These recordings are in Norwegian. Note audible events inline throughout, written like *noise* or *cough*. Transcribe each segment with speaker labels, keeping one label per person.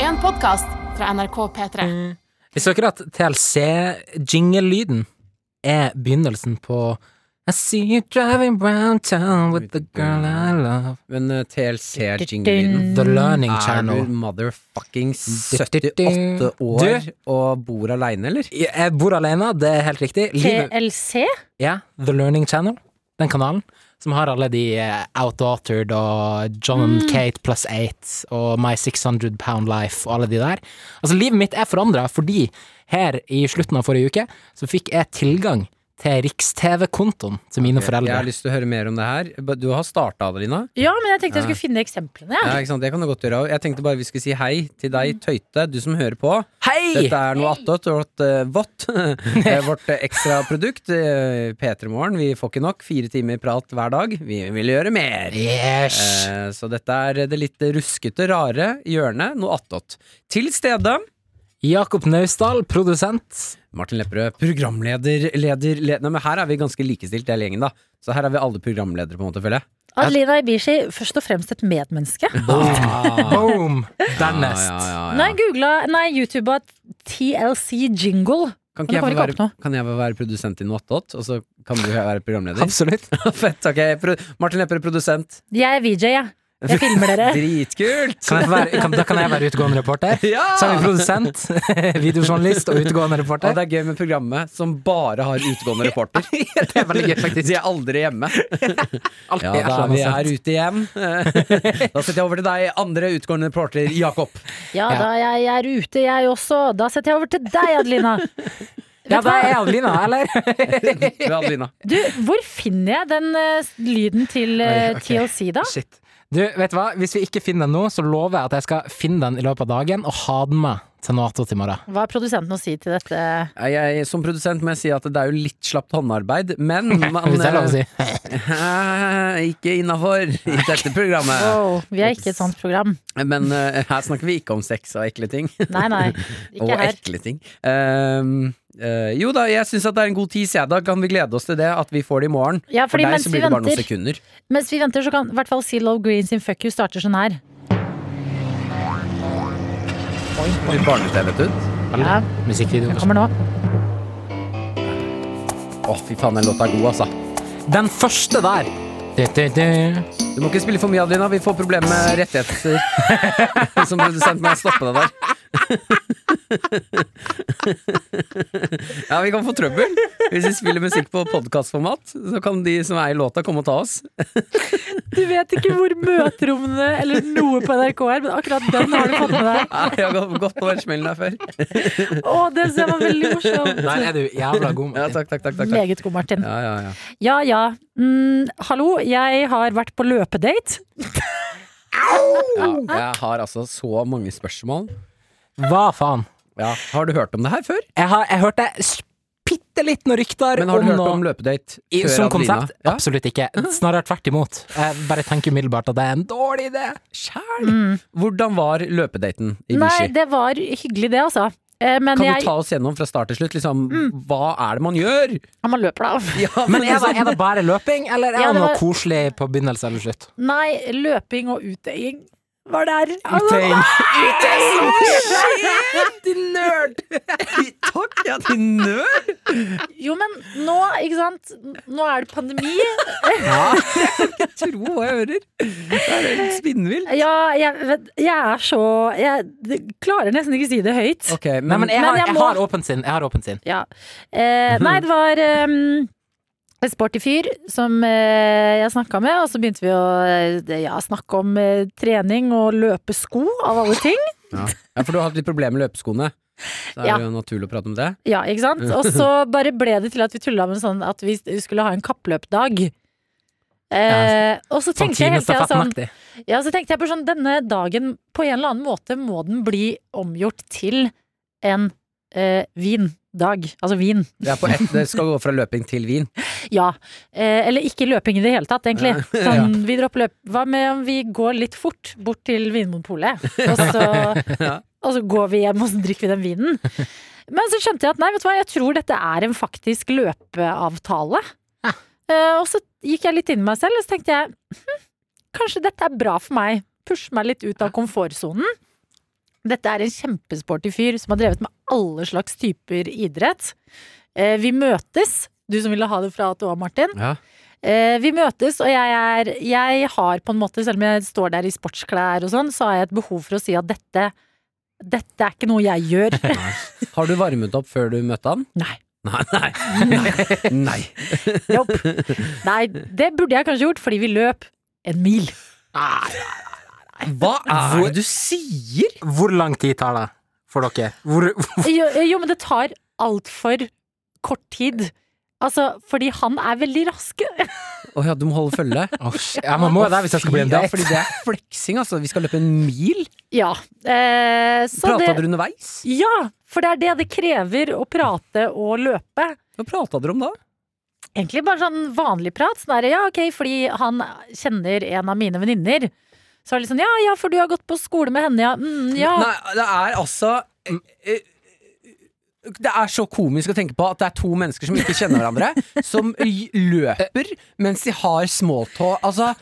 Speaker 1: en podkast fra NRK P3.
Speaker 2: Eh, Visste dere at TLC-jingle-lyden er begynnelsen på I see you driving round town with the girl I love.
Speaker 3: Men eh, TLC-jinglen
Speaker 2: The Learning
Speaker 3: Mm. Ah, Er
Speaker 2: Channel.
Speaker 3: du motherfucking 78 år
Speaker 2: Du-
Speaker 3: og bor aleine, eller?
Speaker 2: Jeg bor alene, det er helt riktig. Livet,
Speaker 4: TLC?
Speaker 2: ja, The Learning Channel, den kanalen, som har alle de eh, Outdaughtered og John and Kate Plus Eight og My 600 Pound Life og alle de der. Altså, livet mitt er forandra fordi her i slutten av forrige uke så fikk jeg tilgang til Riks-TV-kontoen til mine
Speaker 3: Jeg har
Speaker 2: foreldre.
Speaker 3: lyst til å høre mer om det her. But Du har starta, Adelina.
Speaker 4: Ja, men jeg tenkte jeg skulle finne eksemplene.
Speaker 3: Ja,
Speaker 4: jeg.
Speaker 3: ikke sant? Det kan du godt gjøre. Jeg tenkte bare vi skulle si hei til deg, Tøyte, du som hører på.
Speaker 2: Mm. Hei!
Speaker 3: Dette er noe attåt vårt eh, vått. *laughs* Eh, vårt eh, ekstra produkt. eh, P3 Morgen. Vi får ikke nok. Fire timer prat hver dag. Vi vil gjøre mer.
Speaker 2: Yes!
Speaker 3: Eh, Så dette er det litt ruskete, rare hjørnet. Noe attåt. Til stede
Speaker 2: Jakob Naustdal, produsent.
Speaker 3: Martin Lepperød, programleder, leder, led- Nei, men her er vi ganske likestilt, hele gjengen, da. Så her er vi alle programledere, på en måte, føler jeg.
Speaker 4: Adelina Ibishi, først og fremst et medmenneske.
Speaker 2: Boom! Dernest.
Speaker 3: Ah. Ja, ja, ja, ja.
Speaker 4: Nei, googla, nei, YouTuba TLC jingle.
Speaker 3: Kan,
Speaker 4: Men
Speaker 3: ikke jeg få
Speaker 4: det kommer ikke
Speaker 3: være,
Speaker 4: opp nå.
Speaker 3: kan jeg få være produsent i noe attåt, og så kan du være programleder?
Speaker 2: Absolutt.
Speaker 3: *laughs* Fett, ok. Pro Martin Lepperød, produsent.
Speaker 4: Jeg er VJ, jeg. Jeg filmer dere.
Speaker 3: *laughs* Dritkult!
Speaker 2: Kan jeg få være, kan, da kan jeg være utegående reporter.
Speaker 3: *laughs* Ja!
Speaker 2: Så er vi produsent, *laughs* videojournalist og utegående
Speaker 3: Og
Speaker 2: reporter.
Speaker 3: det er gøy med programmet som bare har utegående reporter.
Speaker 2: Det er veldig gøy, faktisk.
Speaker 3: De er aldri hjemme.
Speaker 2: Alt
Speaker 3: Ja,
Speaker 2: er
Speaker 3: da er
Speaker 2: sånn
Speaker 3: vi
Speaker 2: sett.
Speaker 3: her ute igjen. *laughs* Da setter jeg over til deg, andre utegående reporter, Jakob.
Speaker 4: Ja da, jeg er ute, jeg også. Da setter jeg over til deg, Adelina.
Speaker 2: Ja, det er Adelina, eller?
Speaker 3: Ved Adelina.
Speaker 4: *laughs* Du, hvor finner jeg den eh, lyden til eh,
Speaker 2: Oi, ok.
Speaker 4: TLC, da?
Speaker 2: Shit. Du, vet du hva? Hvis vi ikke finner den nå, så lover jeg at jeg skal finne den i løpet av dagen og ha den med til Nato til i morgen.
Speaker 4: Hva har produsenten å si til dette?
Speaker 3: Jeg, jeg, som produsent må jeg si at det er jo litt slapt håndarbeid,
Speaker 4: *laughs*
Speaker 3: men man
Speaker 2: Hvis det er lov å si. *laughs*
Speaker 3: eh, *laughs* Ikke innafor i dette programmet.
Speaker 4: Wow, vi er ikke et sånt program.
Speaker 3: Men eh, her snakker vi ikke om sex og ekle ting.
Speaker 4: Nei, nei.
Speaker 3: *laughs* Og
Speaker 4: Ikke her.
Speaker 3: ekle ting. Ehm, eh, jo da, jeg syns det er en god tis, jeg. Da kan vi glede oss til det, at vi får det i morgen.
Speaker 4: Ja,
Speaker 3: For
Speaker 4: fordi
Speaker 3: deg
Speaker 4: mens
Speaker 3: så
Speaker 4: vi
Speaker 3: blir det bare noen
Speaker 4: venter
Speaker 3: sekunder.
Speaker 4: Mens vi venter, så kan i hvert fall Seal of Green sin Fuck You starter sånn her.
Speaker 3: Litt barne-TV, vet du.
Speaker 4: Ja,
Speaker 2: Musikkvideo.
Speaker 4: den kommer nå.
Speaker 3: Å, fy faen, den låta er god, altså.
Speaker 2: Den første der. Du, du, du.
Speaker 3: Du må ikke spille for mye, Adelina. Vi får problemer med rettigheter. *laughs* Som produsent må jeg stoppe deg der. *laughs* ja, vi kan få trøbbel. Hvis vi spiller musikk på podkastformat, så kan de som er i låta, komme og ta oss.
Speaker 4: Du vet ikke hvor møterommene eller noe på NRK er, men akkurat den har du fått med deg.
Speaker 3: Ja, Jeg har gått på den smellen der før.
Speaker 4: Å, det ser man veldig morsomt.
Speaker 2: Der er du jævla god.
Speaker 3: Ja,
Speaker 2: Martin.
Speaker 3: takk, takk, takk, takk, takk.
Speaker 4: Meget god, Martin.
Speaker 3: Ja, ja, ja.
Speaker 4: Ja ja. Mm, hallo, jeg har vært på løpedate.
Speaker 3: Ja, jeg har altså så mange spørsmål.
Speaker 2: Hva faen?
Speaker 3: Ja, har du hørt om det her før?
Speaker 2: Jeg, har, jeg hørte bitte litt noen rykter
Speaker 3: Men har du hørt
Speaker 2: noe-
Speaker 3: om løpedate
Speaker 2: I,
Speaker 3: før
Speaker 2: som
Speaker 3: Adelina?
Speaker 2: konsept?
Speaker 3: Ja.
Speaker 2: Absolutt ikke. Snarere tvert imot. Jeg bare tenker umiddelbart at det er en dårlig idé.
Speaker 3: Sjæl!
Speaker 2: Mm.
Speaker 3: Hvordan var løpedaten i
Speaker 4: Nei,
Speaker 3: Vichy?
Speaker 4: det var hyggelig det, altså. Eh, Men
Speaker 3: Kan
Speaker 4: jeg
Speaker 3: du ta oss gjennom fra start til slutt? Liksom, Hva er det man gjør?
Speaker 4: Ja, man løper, da.
Speaker 3: *laughs* Ja,
Speaker 2: Men er det, er det bare løping, eller er
Speaker 4: Ja,
Speaker 2: det
Speaker 4: det
Speaker 2: noe
Speaker 4: var-
Speaker 2: koselig på begynnelse eller slutt?
Speaker 4: Nei, løping og utøying var der.
Speaker 3: Altså,
Speaker 4: Altså,
Speaker 2: Utøying.
Speaker 3: *laughs* din nerd! Takk, ja, din nerd!
Speaker 4: Jo, men nå, ikke sant. Nå er det pandemi.
Speaker 3: Tro hva jeg hører. Det er helt spinnvilt.
Speaker 4: Ja, jeg, vet- jeg er så Jeg det- klarer nesten ikke å si det høyt.
Speaker 3: Ok, men,
Speaker 2: Nei, men jeg
Speaker 4: Men
Speaker 2: har,
Speaker 4: jeg
Speaker 2: jeg
Speaker 4: må-
Speaker 2: har åpent sinn. Jeg har åpent sinn.
Speaker 4: Ja. Eh, nei, det var eh, en sporty fyr som eh, jeg snakka med, og så begynte vi å eh, ja, snakke om eh, trening og løpesko, av alle ting.
Speaker 3: ja. ja, For du har hatt litt problemer med løpeskoene. Så er
Speaker 4: Ja.
Speaker 3: det jo naturlig å prate om det.
Speaker 4: Ja, ikke sant? Og så bare ble det til at vi tulla med sånn at vi skulle ha en kappløpdag. Eh, og så
Speaker 2: Sånn
Speaker 4: tenkte jeg hele tida sånn
Speaker 2: timestafettenaktig.
Speaker 4: Ja, så tenkte jeg på sånn, denne dagen på en eller annen måte må den bli omgjort til en eh, vindag. Altså vin.
Speaker 3: Det, er på ett, det skal gå fra løping til vin.
Speaker 4: Ja. Eh, eller ikke løping i det hele tatt, egentlig. Sånn, vi dropper løp. Hva med om vi går litt fort bort til Vinmonopolet, og så,
Speaker 3: Ja.
Speaker 4: og så går vi hjem og så drikker vi den vinen? Men så skjønte jeg at nei, vet du hva, jeg tror dette er en faktisk løpeavtale. Eh, og så gikk jeg litt inn i meg selv, og så tenkte jeg hm, kanskje dette er bra for meg. Pushe meg litt ut av komfortsonen. Dette er en kjempesporty fyr som har drevet med alle slags typer idrett. Eh, vi møtes, du som ville ha det fra at du var Martin.
Speaker 3: Ja.
Speaker 4: Eh, vi møtes, og jeg, er, jeg har på en måte, selv om jeg står der i sportsklær og sånn, så har jeg et behov for å si at dette, dette er ikke noe jeg gjør. *laughs*
Speaker 3: Har du varmet opp før du møtte han?
Speaker 4: Nei.
Speaker 3: Nei, nei. Nei. nei.
Speaker 4: Jopp. Nei, det burde jeg kanskje gjort, fordi vi løp en mil.
Speaker 3: Hva er det du sier?!
Speaker 2: Hvor lang tid tar det for dere? Hvor,
Speaker 4: Jo, jo men det tar altfor kort tid. Altså, fordi han er veldig rask.
Speaker 3: Å ja, du må holde følge?
Speaker 2: Åh, shit. ja, man må jo det hvis det skal bli en
Speaker 3: Ja,
Speaker 2: date.
Speaker 3: fordi det er fleksing, altså. Vi skal løpe en mil.
Speaker 4: Ja. Eh, så
Speaker 3: Prata
Speaker 4: det
Speaker 3: dere underveis?
Speaker 4: Ja, for det er det det krever å prate og løpe.
Speaker 3: Hva prata dere om da?
Speaker 4: Egentlig bare sånn vanlig prat. Sånn der, ja, ok, fordi han kjenner en av mine venninner. Så er det litt sånn, ja, ja, for du har gått på skole med henne, ja. Mm, ja.
Speaker 3: Nei, det er altså eh, eh, Det er så komisk å tenke på at det er to mennesker som ikke kjenner
Speaker 4: *laughs*
Speaker 3: hverandre, som y- løper mens de har smalltå. Altså,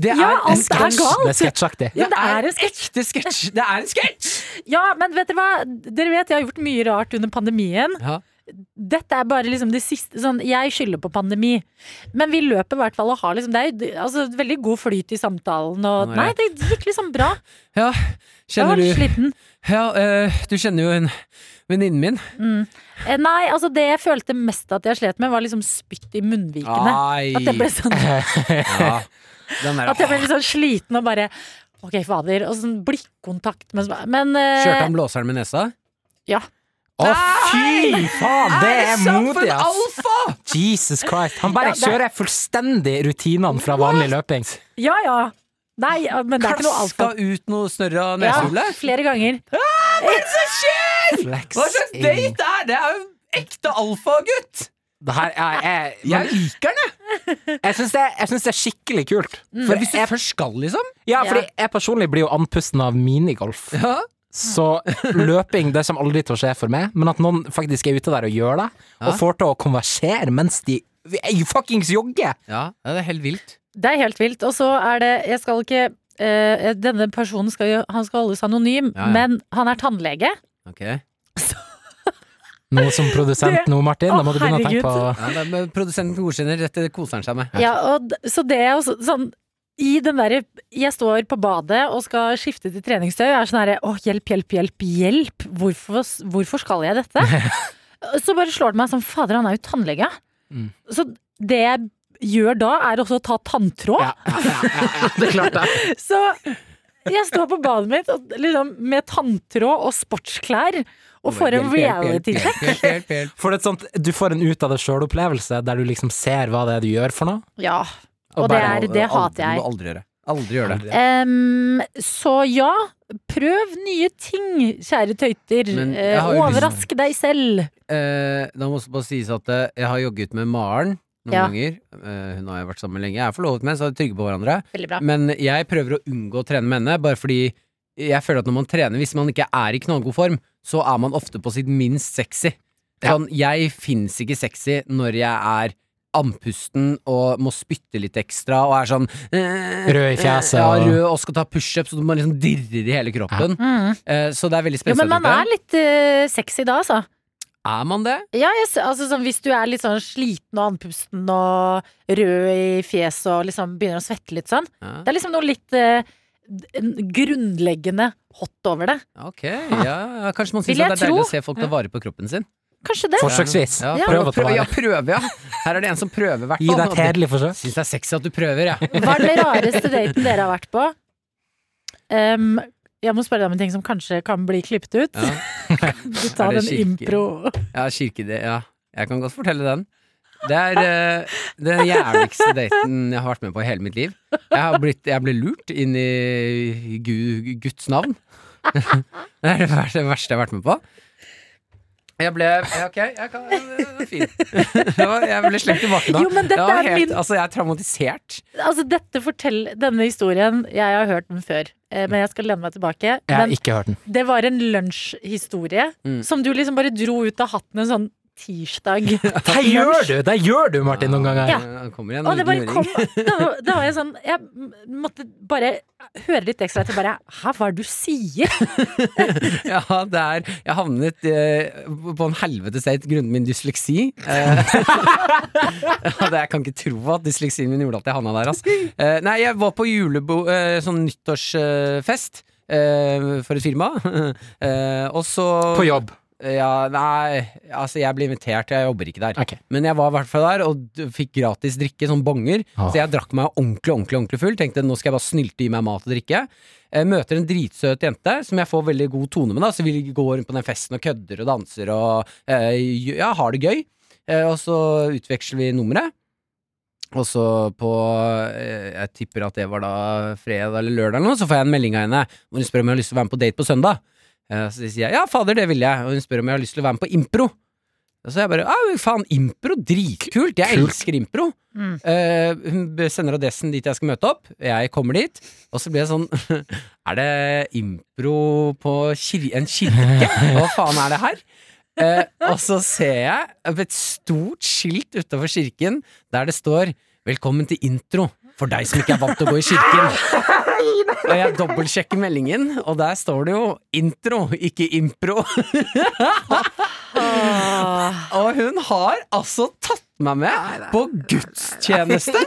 Speaker 3: det er
Speaker 4: Mm. ja,
Speaker 3: en
Speaker 4: alt er
Speaker 3: sketsj.
Speaker 4: galt.
Speaker 2: Det er sketsjaktig.
Speaker 3: Ja,
Speaker 4: Men det er en
Speaker 3: ekte sketsj! Det er en sketsj!
Speaker 4: Ja, men vet dere hva? Dere vet jeg har gjort mye rart under pandemien.
Speaker 3: Ja.
Speaker 4: Dette er bare liksom det siste sånn, Jeg skylder på pandemi. Men vi løper i hvert fall og har liksom Det er jo altså, veldig god flyt i samtalen og
Speaker 3: Ja, det er
Speaker 4: Nei, det gikk liksom bra.
Speaker 3: Ja,
Speaker 4: Jeg var
Speaker 3: kjenner
Speaker 4: litt
Speaker 3: du
Speaker 4: sliten.
Speaker 3: Ja, eh, du kjenner jo en venninnen min.
Speaker 4: Eh, Nei, altså det jeg følte mest at jeg slet med, var liksom spytt i munnvikene.
Speaker 3: Ai.
Speaker 4: At jeg ble sånn *laughs*
Speaker 3: ja. Den der,
Speaker 4: At jeg ble litt sånn sliten og bare Ok, fader. Og sånn blikkontakt med Men eh,
Speaker 3: Kjørte han blåseren med nesa?
Speaker 4: Ja.
Speaker 2: Å, fy faen! Det er modig, ass!
Speaker 3: alfa?!
Speaker 2: Jesus Christ. Han bare
Speaker 4: Ja, det-
Speaker 2: kjører fullstendig rutinene fra vanlig løping.
Speaker 4: Ja ja. Nei, ja, men det er ikke noe
Speaker 3: Klaska
Speaker 4: alfa.
Speaker 3: ut noe snørr av
Speaker 4: Ja,
Speaker 3: nesehullet?
Speaker 4: flere ganger.
Speaker 2: Flex
Speaker 3: Hva slags
Speaker 2: in.
Speaker 3: date er det? Det er jo ekte alfagutt!
Speaker 2: Det her er, er,
Speaker 3: Jeg liker den, jeg!
Speaker 2: jeg syns det, jeg syns det er skikkelig kult.
Speaker 3: Men hvis du først skal, liksom.
Speaker 2: Ja,
Speaker 4: Ja.
Speaker 2: fordi jeg personlig blir jo andpusten av minigolf.
Speaker 3: Ja.
Speaker 2: Så løping det kommer aldri til å skje for meg, men at noen faktisk er ute der og gjør det, og får til å konversere mens de Jeg fuckings jogger!
Speaker 3: det er helt vilt.
Speaker 4: Det er helt vilt. Og så er det Jeg skal ikke eh, Denne personen skal jo Han skal holdes anonym,
Speaker 3: Ja, ja.
Speaker 4: men han er tannlege.
Speaker 3: Ok ja,
Speaker 2: Noe som produsent
Speaker 4: Det-
Speaker 2: nå, Martin. Da må
Speaker 4: Å,
Speaker 2: du begynne å tenke på
Speaker 4: herregud.
Speaker 3: det er- men Produsenten godkjenner, dette koser han seg med.
Speaker 4: Ja, og d- så det er også sånn i den derre Jeg står på badet og skal skifte til treningstøy. Jeg er sånn herre Å, hjelp, hjelp, hjelp, hjelp! Hvorfor, hvorfor skal jeg dette? så bare slår det meg sånn Fader, han er jo tannlege.
Speaker 2: Mm.
Speaker 4: Så det jeg gjør da, er også å ta tanntråd.
Speaker 2: ja, ja, ja, ja, ja, det er klart det.
Speaker 4: *laughs* Så jeg står på badet mitt og, liksom, med tanntråd og sportsklær og får en
Speaker 3: Hjelp, hjelp, hjelp,
Speaker 4: reality-sjekk.
Speaker 3: hjelp, hjelp, hjelp, hjelp.
Speaker 2: For det er et sånt, du får en ut av det sjøl-opplevelse, der du liksom ser hva det er du gjør for noe.
Speaker 4: Ja. Og det,
Speaker 2: bare-
Speaker 4: er, det hater
Speaker 3: Det må
Speaker 4: jeg.
Speaker 3: du aldri gjøre. Aldri gjøre det.
Speaker 4: Em, så ja, prøv nye ting, kjære tøyter.
Speaker 3: Men jeg
Speaker 4: Eh,
Speaker 3: har jo lyst-
Speaker 4: Overrask deg selv.
Speaker 3: Eh, da må det bare sies at eh, jeg har jogget med Maren noen
Speaker 4: Ja.
Speaker 3: ganger. Eh, hun har jeg vært sammen med lenge. Jeg er forlovet med, så vi er trygge på hverandre.
Speaker 4: Veldig bra.
Speaker 3: Men jeg prøver å unngå å trene med henne, bare fordi jeg føler at når man trener, hvis man ikke er i knallgod form, så er man ofte på sitt minst sexy. Sånn, jeg fins ikke sexy når jeg er andpusten og må spytte litt ekstra og er sånn eh,
Speaker 2: Rød i fjeset
Speaker 3: Ja,
Speaker 2: og-
Speaker 3: rød og skal ta pushups, så man liksom dirrer i hele kroppen.
Speaker 4: Mm.
Speaker 3: Eh, så det er veldig
Speaker 4: Jo,
Speaker 3: spesielt.
Speaker 4: men man er litt eh, sexy da, altså.
Speaker 3: er man det?
Speaker 4: Ja, jeg, s- altså sånn, hvis du er litt sånn sliten og andpusten og rød i fjeset og liksom begynner å svette litt sånn.
Speaker 3: Ja.
Speaker 4: Det er liksom noe litt eh, d- grunnleggende hot over det.
Speaker 3: Ok, ja, ja, kanskje man syns
Speaker 4: Vil
Speaker 3: det er
Speaker 4: jeg
Speaker 3: deilig
Speaker 4: tro.
Speaker 3: å se folk ta vare på kroppen sin.
Speaker 4: Kanskje *laughs* det.
Speaker 2: Forsøksvis.
Speaker 3: Ja,
Speaker 2: Prøv å ta
Speaker 3: prøv, ja,
Speaker 2: vare.
Speaker 3: prøv, ja. Her er det en som prøver, i hvert
Speaker 2: Gi
Speaker 3: fall.
Speaker 2: deg et hederlig forsøk.
Speaker 3: Syns det er sexy at du prøver, jeg.
Speaker 4: Hva er den rareste daten dere har vært på? Em, jeg må spørre deg om en ting som kanskje kan bli klippet ut.
Speaker 3: Ja.
Speaker 4: Du tar
Speaker 3: Er det
Speaker 4: den
Speaker 3: kirke?
Speaker 4: impro.
Speaker 3: Ja, kirkede, ja. Jeg kan godt fortelle den. Det er eh, den jævligste daten jeg har vært med på i hele mitt liv. Jeg, har blitt, jeg ble lurt inn i Gu, Guds navn. *laughs* det er det verste, det verste jeg har vært med på. Jeg ble ja, Ok, jeg kan, det var fint. *laughs* Det var- jeg ble slemt i bakken da.
Speaker 4: Jo, men dette
Speaker 3: Det var
Speaker 4: er
Speaker 3: helt,
Speaker 4: min-
Speaker 3: Altså, jeg er traumatisert.
Speaker 4: Altså, dette fortell, denne historien Jeg har hørt den før, eh, men jeg skal lene meg tilbake.
Speaker 2: Jeg har
Speaker 4: Men
Speaker 2: ikke hørt den.
Speaker 4: det var en lunsjhistorie
Speaker 3: Mm.
Speaker 4: som du liksom bare dro ut av hatten en sånn tirsdag.
Speaker 3: *laughs*
Speaker 2: Det gjør du! Det gjør du, Martin, noen ganger.
Speaker 4: Ja.
Speaker 3: Eh, Han kommer igjen,
Speaker 4: Og det
Speaker 3: en
Speaker 4: bare
Speaker 3: liten
Speaker 4: kom
Speaker 3: luring.
Speaker 4: *laughs* da, var- da var jeg sånn Jeg måtte bare høre litt ekstra etter bare Hæ, hva er det du sier?
Speaker 3: *laughs* Ja, det er Jeg havnet eh, på en helvetes date grunnet min dysleksi. Eh, *laughs* ja, det, jeg kan ikke tro at dysleksien min gjorde at jeg havna der, ass. Eh, nei, jeg var på julebo... Eh, sånn nyttårsfest. Eh, for et firma. *laughs* Eh, og så
Speaker 2: På jobb.
Speaker 3: Ja, nei, altså jeg ble invitert, jeg jobber ikke der.
Speaker 2: Ok.
Speaker 3: Men jeg var i hvert fall der og d- fikk gratis drikke, sånn bonger.
Speaker 2: Ah.
Speaker 3: Så jeg drakk meg ordentlig ordentlig, ordentlig full. Tenkte nå skal jeg bare snylte i meg mat og drikke. Jeg møter en dritsøt jente som jeg får veldig god tone med. da Så vi går rundt på den festen og kødder og danser og eh, ja, har det gøy. Eh, og så utveksler vi nummeret. Og så på eh, Jeg tipper at det var da fredag eller lørdag, eller noe, så får jeg en melding av henne hvor hun spør om jeg har lyst til å være med på date på søndag. Eh, så sier jeg ja, fader, det vil jeg. Og hun spør om jeg har lyst til å være med på impro. Og så jeg bare ja, faen, impro, dritkult, jeg
Speaker 2: Kult.
Speaker 3: elsker impro.
Speaker 4: Mm.
Speaker 3: Eh, hun b- sender adressen dit jeg skal møte opp, jeg kommer dit, og så blir jeg sånn *laughs* Er det impro på kir en kirke? Hva faen er det her? Eh, og så ser jeg et stort skilt utafor kirken der det står 'Velkommen til intro' for deg som ikke er vant til å gå i kirken. Og jeg dobbeltsjekker meldingen, og der står det jo 'intro', ikke 'impro'.
Speaker 4: Åh.
Speaker 3: Og hun har altså tatt meg med på gudstjeneste!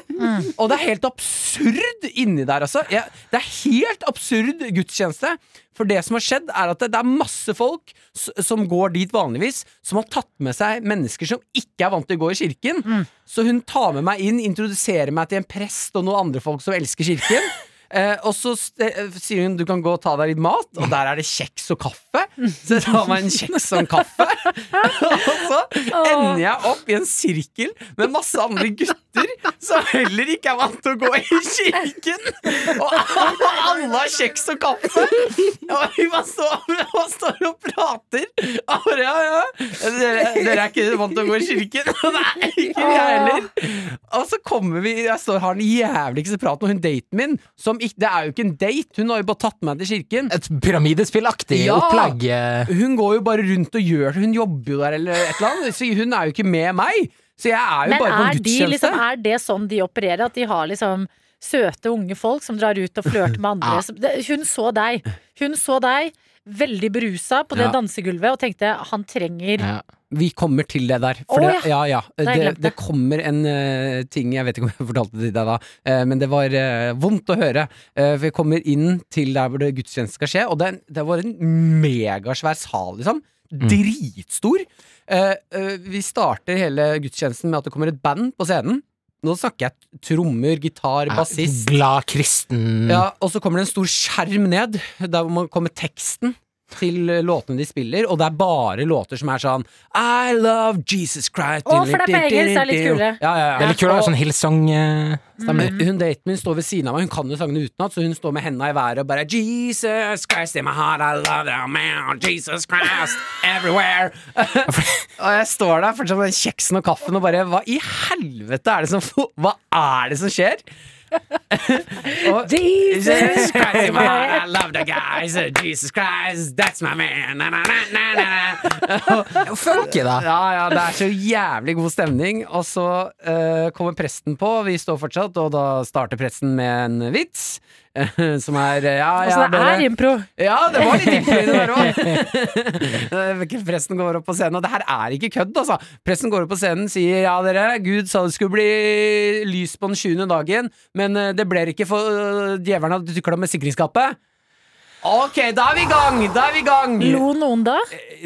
Speaker 3: Og det er helt absurd inni der, altså. Jeg, det er helt absurd gudstjeneste. For det som har skjedd, er at det, det er masse folk s som går dit vanligvis, som har tatt med seg mennesker som ikke er vant til å gå i kirken. Så hun tar med meg inn, introduserer meg til en prest og noen andre folk som elsker kirken. Eh, og så st- eh, sier hun du kan gå og ta deg litt mat, og der er det kjeks og kaffe. Så jeg tar meg en kjeks og en kaffe. og så Altså, ender jeg opp i en sirkel med masse andre gutter som heller ikke er vant til å gå i kirken. Og alle har kjeks og kaffe. Og vi bare står, og, står og prater. Og bare, ja, ja. Dere, dere er ikke vant til å gå i kirken? *laughs* Nei, ikke vi heller. Og så kommer vi Jeg står og har den jævligste praten, og hun daten min som ikke, Det er jo ikke en date, hun har jo bare tatt meg til kirken.
Speaker 2: Et pyramidespillaktig
Speaker 3: Ja.
Speaker 2: opplegg. eh.
Speaker 3: Hun går jo bare rundt og gjør det, hun jobber jo der eller et eller annet. Så hun er jo ikke med meg. Så jeg er jo
Speaker 4: Men
Speaker 3: bare på en
Speaker 4: er, de,
Speaker 3: gudstjeneste.
Speaker 4: liksom, er det sånn de opererer? At de har liksom søte unge folk som drar ut og flørter
Speaker 3: *laughs*
Speaker 4: med
Speaker 3: Ah.
Speaker 4: andre? som- det- Hun så deg. Hun så deg veldig berusa på det
Speaker 3: Ja.
Speaker 4: dansegulvet og tenkte han trenger
Speaker 2: Ja.
Speaker 3: Vi kommer til det der. For
Speaker 4: Å,
Speaker 3: det, ja. Ja,
Speaker 4: har jeg
Speaker 3: Det,
Speaker 4: glemt
Speaker 3: det kommer en eh, ting Jeg vet ikke om jeg *laughs* fortalte det til deg da, eh, men det var eh, vondt å høre. Eh, for jeg kommer inn til der hvor det gudstjeneste skal skje, og det, er en- det var en megasvær sal, liksom. Dritstor. Eh, eh, vi starter hele gudstjenesten med at det kommer et band på scenen. Nå snakker jeg trommer, gitar, bassist.
Speaker 2: Glad kristen
Speaker 3: Ja, og så kommer det en stor skjerm ned, der hvor man kommer teksten til eh, låtene de spiller, og det er bare låter som er sånn I love Jesus Christ
Speaker 4: Å, for det er på engelsk, det er litt kulere.
Speaker 3: Ja, ja, ja.
Speaker 2: Det er litt kult å ha
Speaker 3: Og-
Speaker 2: sånn eh, Hillsong-stemme.
Speaker 3: Stemmer. Hun daten min står ved siden av meg, hun kan jo sangene utenat, så hun står med henda i været og bare Jesus Christ in my heart, I love you, man, Jesus Christ
Speaker 2: *laughs*
Speaker 3: everywhere. og jeg står der fortsatt med den kjeksen og kaffen og bare Hva i helvete er det som fo- Hva er det som skjer? og, *laughs* Jesus Christ in my heart, I love the guys, uh, Jesus Christ, that's my man, na, na, na, na, na. Og-
Speaker 2: Funky, da!
Speaker 3: *laughs* ja, ja, det er så jævlig god stemning. Og så eh, kommer presten på, vi står fortsatt, og da starter presten med en vits. *laughs* eh, som er eh, Ja, ja,
Speaker 4: Altså, det
Speaker 3: dere-
Speaker 4: er impro.
Speaker 3: ja, det var litt innflytende der *laughs* òg. Presten går opp på scenen, og det her er ikke kødd, altså. Presten går opp på scenen, sier ja, dere, Gud sa det skulle bli lys på den sjuende dagen, men eh, det ble det ikke, for eh, djevelen hadde tukla med sikringskapet. Ok, da er vi i gang! Da er vi i gang!
Speaker 4: Lo noen da?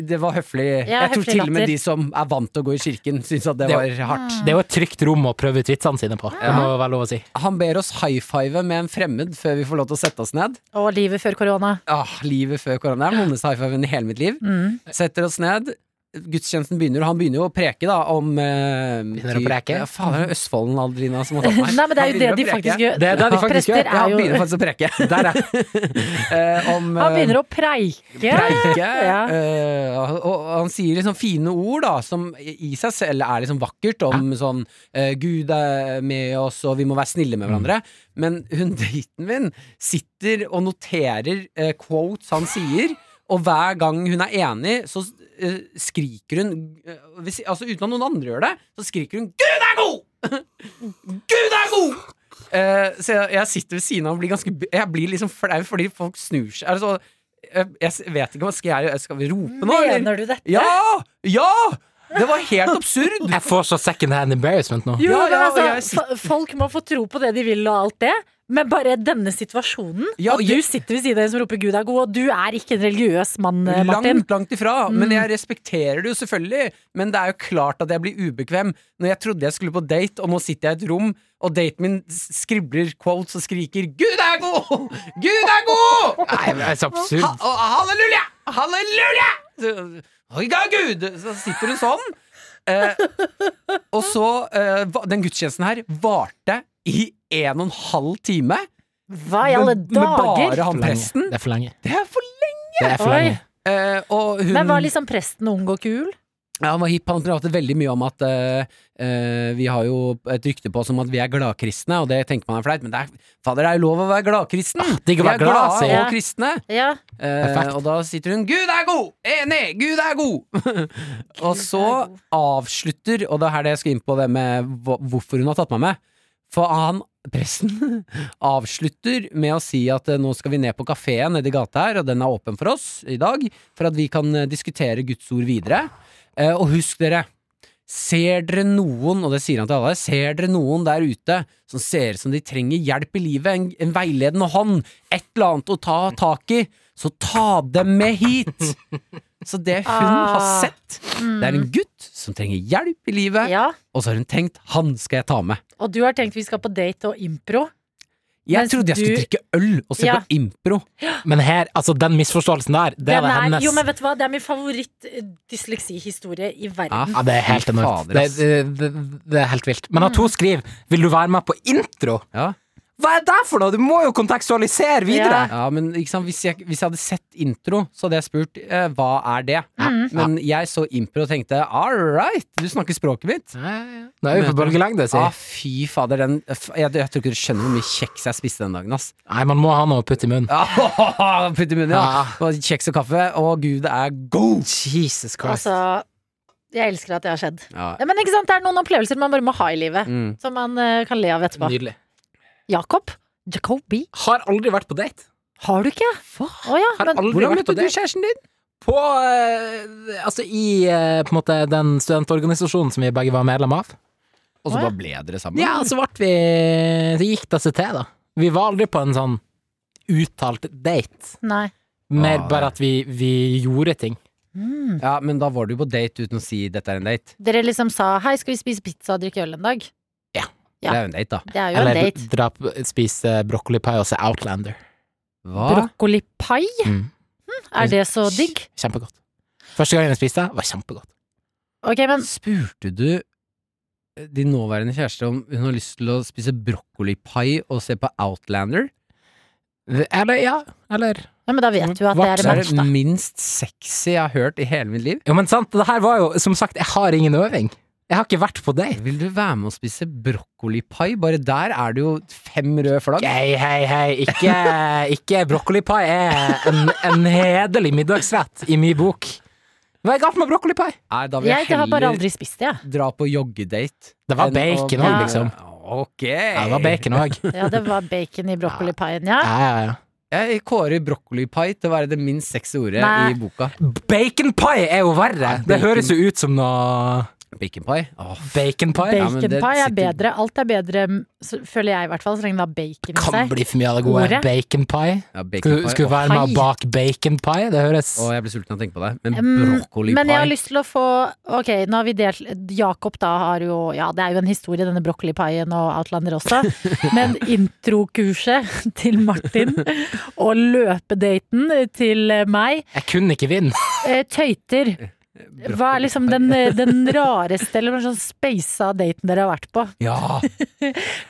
Speaker 3: Det var høflig.
Speaker 4: Ja,
Speaker 3: jeg tror
Speaker 4: høflig
Speaker 3: til og med
Speaker 4: latter.
Speaker 3: de som er vant til å gå i kirken, syns at det
Speaker 2: Det-
Speaker 3: var hardt.
Speaker 2: Det er jo et trygt rom å prøve ut vitsene sine på. Det må være lov å si.
Speaker 3: Han ber oss high five med en fremmed før vi får lov til å sette oss ned.
Speaker 4: Å, livet før korona.
Speaker 3: Ah, livet før korona. Det er den vondeste high fiven i hele mitt liv.
Speaker 4: Mm.
Speaker 3: Setter oss ned. Gudstjenesten begynner, og han begynner jo å preke da om eh,
Speaker 2: Begynner å
Speaker 3: typ-
Speaker 2: preke?
Speaker 3: Ja, faen, det er Østfolden Adelina som
Speaker 4: *laughs*
Speaker 3: har tatt meg.
Speaker 4: Nei, men det er
Speaker 3: Han
Speaker 4: jo
Speaker 3: begynner
Speaker 4: det
Speaker 3: å
Speaker 4: de
Speaker 3: preke.
Speaker 4: faktisk gjør.
Speaker 2: Det er det de faktisk
Speaker 4: Prester
Speaker 2: gjør.
Speaker 3: Ja,
Speaker 4: er
Speaker 3: han
Speaker 4: jo
Speaker 3: begynner faktisk å preke. Der,
Speaker 4: *laughs*
Speaker 3: ja. *laughs* Eh, om,
Speaker 4: Han
Speaker 3: eh,
Speaker 4: begynner å preike.
Speaker 3: preike.
Speaker 4: Ja.
Speaker 3: eh, og, og han sier liksom fine ord da, som i seg selv er liksom vakkert, om sånn eh, Gud er med oss, og vi må være snille med hverandre. *laughs* Men hun daten min sitter og noterer eh, quotes han sier. Og hver gang hun er enig, så eh, skriker hun eh, hvis, Altså uten at noen andre gjør det, så skriker hun 'Gud er god!' Gud er god! Eh, så jeg, jeg sitter ved siden av og blir ganske b- Jeg blir liksom flau fordi folk snur seg. Altså, jeg, jeg vet ikke om Skal jeg skal vi rope nå, eller?
Speaker 4: Mener du dette?
Speaker 3: Ja! Ja! Det var helt absurd!
Speaker 4: *laughs*
Speaker 2: Jeg får så second hand embarrassment nå.
Speaker 4: Jo,
Speaker 3: Ja,
Speaker 4: men
Speaker 3: ja,
Speaker 4: altså,
Speaker 3: og jeg sitter-
Speaker 4: fa- folk må få tro på det de vil og alt det. Men bare denne situasjonen,
Speaker 3: Ja,
Speaker 4: og du
Speaker 3: jeg-
Speaker 4: sitter ved siden av en som roper 'Gud er god', og du er ikke en religiøs mann, eh, Martin. Mm.
Speaker 3: Langt, langt ifra. Men jeg respekterer det jo selvfølgelig. Men det er jo klart at jeg blir ubekvem når jeg trodde jeg skulle på date, og nå sitter jeg i et rom, og daten min s- skribler quotes og skriker 'Gud er god! Gud er god!'
Speaker 2: Nei, men det er så absurd.
Speaker 3: Ha og halleluja! Halleluja! Så- Oi, ga Gud! Så sitter hun sånn. Eh, og så eh, va- Den gudstjenesten her varte i en og en halv time.
Speaker 4: Hva i alle
Speaker 3: med, med bare han
Speaker 4: dager?
Speaker 2: For lenge.
Speaker 3: presten.
Speaker 2: Det er for lenge.
Speaker 3: Det er for lenge!
Speaker 2: Det er for
Speaker 4: Oi.
Speaker 2: lenge.
Speaker 3: Eh, og hun
Speaker 4: Men var liksom presten ung og kul?
Speaker 3: Ja, han var hipp, han pratet veldig mye om at eh, eh, vi har jo et rykte på oss om at vi er gladkristne, og det tenker man er flaut, men det er, fader, det er jo lov å være gladkristen!
Speaker 2: digg å
Speaker 3: vi
Speaker 2: være
Speaker 3: Ah, er
Speaker 2: glad,
Speaker 3: glade
Speaker 2: sier
Speaker 3: og
Speaker 2: jeg.
Speaker 3: kristne!
Speaker 4: Ja.
Speaker 3: Eh,
Speaker 2: Perfekt.
Speaker 3: og da sitter hun 'Gud er god! Enig! Gud er
Speaker 4: *laughs*
Speaker 3: god!' og så
Speaker 4: er god.
Speaker 3: avslutter, og det er her det jeg skal inn på det med hva- hvorfor hun har tatt meg med. For han, presten, *laughs* avslutter med å si at eh, nå skal vi ned på kafeen nedi gata her, og den er åpen for oss i dag, for at vi kan eh, diskutere Guds ord videre. Eh, og husk dere, ser dere noen, og det sier han til alle, ser dere noen der ute som ser ut som de trenger hjelp i livet, en, en veiledende hånd, et eller annet å ta tak i, så ta dem med hit!
Speaker 4: *laughs*
Speaker 3: Så det hun har
Speaker 4: Ah.
Speaker 3: sett, det er en gutt som trenger hjelp i livet,
Speaker 4: ja.
Speaker 3: og så har hun tenkt 'han skal jeg ta med'.
Speaker 4: Og du har tenkt vi skal på date og impro?
Speaker 3: Jeg
Speaker 4: Mens
Speaker 3: trodde jeg skulle
Speaker 4: du-
Speaker 3: drikke øl og se
Speaker 4: Ja.
Speaker 3: på impro.
Speaker 2: Men her, altså, den misforståelsen der, det
Speaker 4: Den
Speaker 2: er det hennes.
Speaker 4: jo, men vet du hva? Det er min favoritt-dysleksihistorie i verden.
Speaker 2: Ja, det er helt
Speaker 3: Fy
Speaker 2: enormt.
Speaker 3: fader,
Speaker 2: Det,
Speaker 3: ass.
Speaker 2: det, det, det er helt vilt. Men at hun skriver 'Vil du være med på intro'?
Speaker 3: Ja.
Speaker 2: Hva er det for noe?! Du må jo kontekstualisere videre!
Speaker 3: Ja, men ikke sant? Hvis, jeg, hvis jeg hadde sett intro, så hadde jeg spurt eh, hva er det?
Speaker 4: Mm.
Speaker 3: Men jeg så impro og tenkte all right, du snakker språket mitt.
Speaker 2: Ja. Nå er vi på bølgelengde, si.
Speaker 3: Ah, fy fader, den, f- jeg, jeg tror ikke du skjønner hvor mye kjeks jeg spiste den *laughs* dagen. ass
Speaker 2: Nei, man må ha noe å putte i munnen.
Speaker 3: ah, Putt i munnen, ja.
Speaker 2: Ja.
Speaker 3: Og kjeks og kaffe. Å, gud, det er god!
Speaker 2: Jesus Christ.
Speaker 4: Altså, jeg elsker at det har skjedd.
Speaker 3: Ja.
Speaker 4: Ja, men ikke sant, Det er noen opplevelser man bare må ha i livet,
Speaker 3: Mm.
Speaker 4: som man eh, kan le av etterpå.
Speaker 2: Nydelig.
Speaker 4: Jakob? Jacobi?
Speaker 2: Har aldri vært på date.
Speaker 4: Har du ikke? Å ja,
Speaker 2: Har
Speaker 4: men
Speaker 2: aldri
Speaker 3: Hvordan
Speaker 2: vært på
Speaker 3: møtte du
Speaker 2: date.
Speaker 3: kjæresten din?
Speaker 2: På eh, Altså i eh, på en måte den studentorganisasjonen som vi begge var medlem av.
Speaker 3: Og
Speaker 4: Å,
Speaker 3: så
Speaker 4: ja.
Speaker 3: bare ble dere
Speaker 4: Mm.
Speaker 3: sammen?
Speaker 2: Ja, så ble vi Så gikk det seg til, da. Vi var aldri på en sånn uttalt date.
Speaker 4: Nei.
Speaker 2: Mer
Speaker 3: Ah,
Speaker 2: bare at vi, vi gjorde ting.
Speaker 4: Mm.
Speaker 3: Ja, men da var du på date uten å si 'dette er en date'.
Speaker 4: Dere liksom sa 'hei, skal vi spise pizza og drikke øl en dag'?
Speaker 3: Det
Speaker 4: Ja.
Speaker 3: er jo en date, da.
Speaker 4: Det er jo en
Speaker 2: Eller
Speaker 4: date.
Speaker 2: dra på- spise brokkolipai og se Outlander.
Speaker 3: Hva?
Speaker 4: Brokkolipai?
Speaker 2: Mm.
Speaker 4: Er det så digg?
Speaker 2: Kjempegodt. Første gangen jeg spiste det, var kjempegodt.
Speaker 4: Ok, men
Speaker 3: Spurte du eh, din nåværende kjæreste om hun har lyst til å spise brokkolipai og se på Outlander?
Speaker 2: Eller, ja, eller
Speaker 4: Ja, men da vet du at det
Speaker 2: Vart
Speaker 4: er
Speaker 3: Så
Speaker 4: en
Speaker 3: er det
Speaker 4: mandag.
Speaker 3: minst sexy jeg har hørt i hele mitt liv.
Speaker 2: Jo, men sant, det her var jo Som sagt, jeg har ingen øving. Jeg har ikke vært på date.
Speaker 3: Vil du være med og spise brokkolipai? Bare der er det jo fem røde flagg.
Speaker 2: Hei, hei, hei. Ikke, ikke brokkolipai er en, en hederlig middagsrett i min bok. Hva er galt med brokkolipai?
Speaker 3: Nei, da vil jeg
Speaker 4: Jeg har bare
Speaker 3: heller
Speaker 4: aldri spist det, jeg.
Speaker 3: dra på joggedate.
Speaker 2: Det var
Speaker 3: enn å-
Speaker 2: bacon
Speaker 4: også,
Speaker 3: Ja.
Speaker 2: liksom.
Speaker 3: Ok.
Speaker 2: Ja, det var bacon òg.
Speaker 4: Ja, det var bacon i brokkolipaien, ja.
Speaker 2: Ja, ja, ja.
Speaker 3: Jeg kårer brokkolipai til å være det minst sexy ordet
Speaker 4: Nei.
Speaker 3: i boka.
Speaker 2: Baconpai er jo verre! Det
Speaker 3: bacon.
Speaker 2: høres jo ut som noe
Speaker 3: Baconpai. Åh,
Speaker 2: baconpai.
Speaker 3: Ja, men det
Speaker 4: Baconpai er
Speaker 3: sitter-
Speaker 4: bedre. Alt er bedre, m, så- føler jeg i hvert fall, så lenge det har bacon i
Speaker 2: Kan
Speaker 4: seg.
Speaker 2: bli for mye av det gode.
Speaker 4: Ordet.
Speaker 2: Baconpai.
Speaker 3: ja,
Speaker 2: Skulle
Speaker 3: baconpai.
Speaker 2: skulle
Speaker 3: Åh,
Speaker 2: være med
Speaker 4: pai.
Speaker 2: og bake baconpai. Det høres
Speaker 3: åh, jeg blir sulten av å tenke på det. Men
Speaker 4: Mm,
Speaker 3: brokkolipai
Speaker 4: Men jeg har lyst til å få Ok, nå har vi delt Jakob da har jo Ja, det er jo en historie, denne brokkolipaien og Outlander også. Men introkurset til Martin og løpedaten til meg
Speaker 2: Jeg kunne ikke vinne.
Speaker 4: eh, tøyter. Hva er liksom den, den rareste eller sånn speisa daten dere har vært på?
Speaker 3: Ja!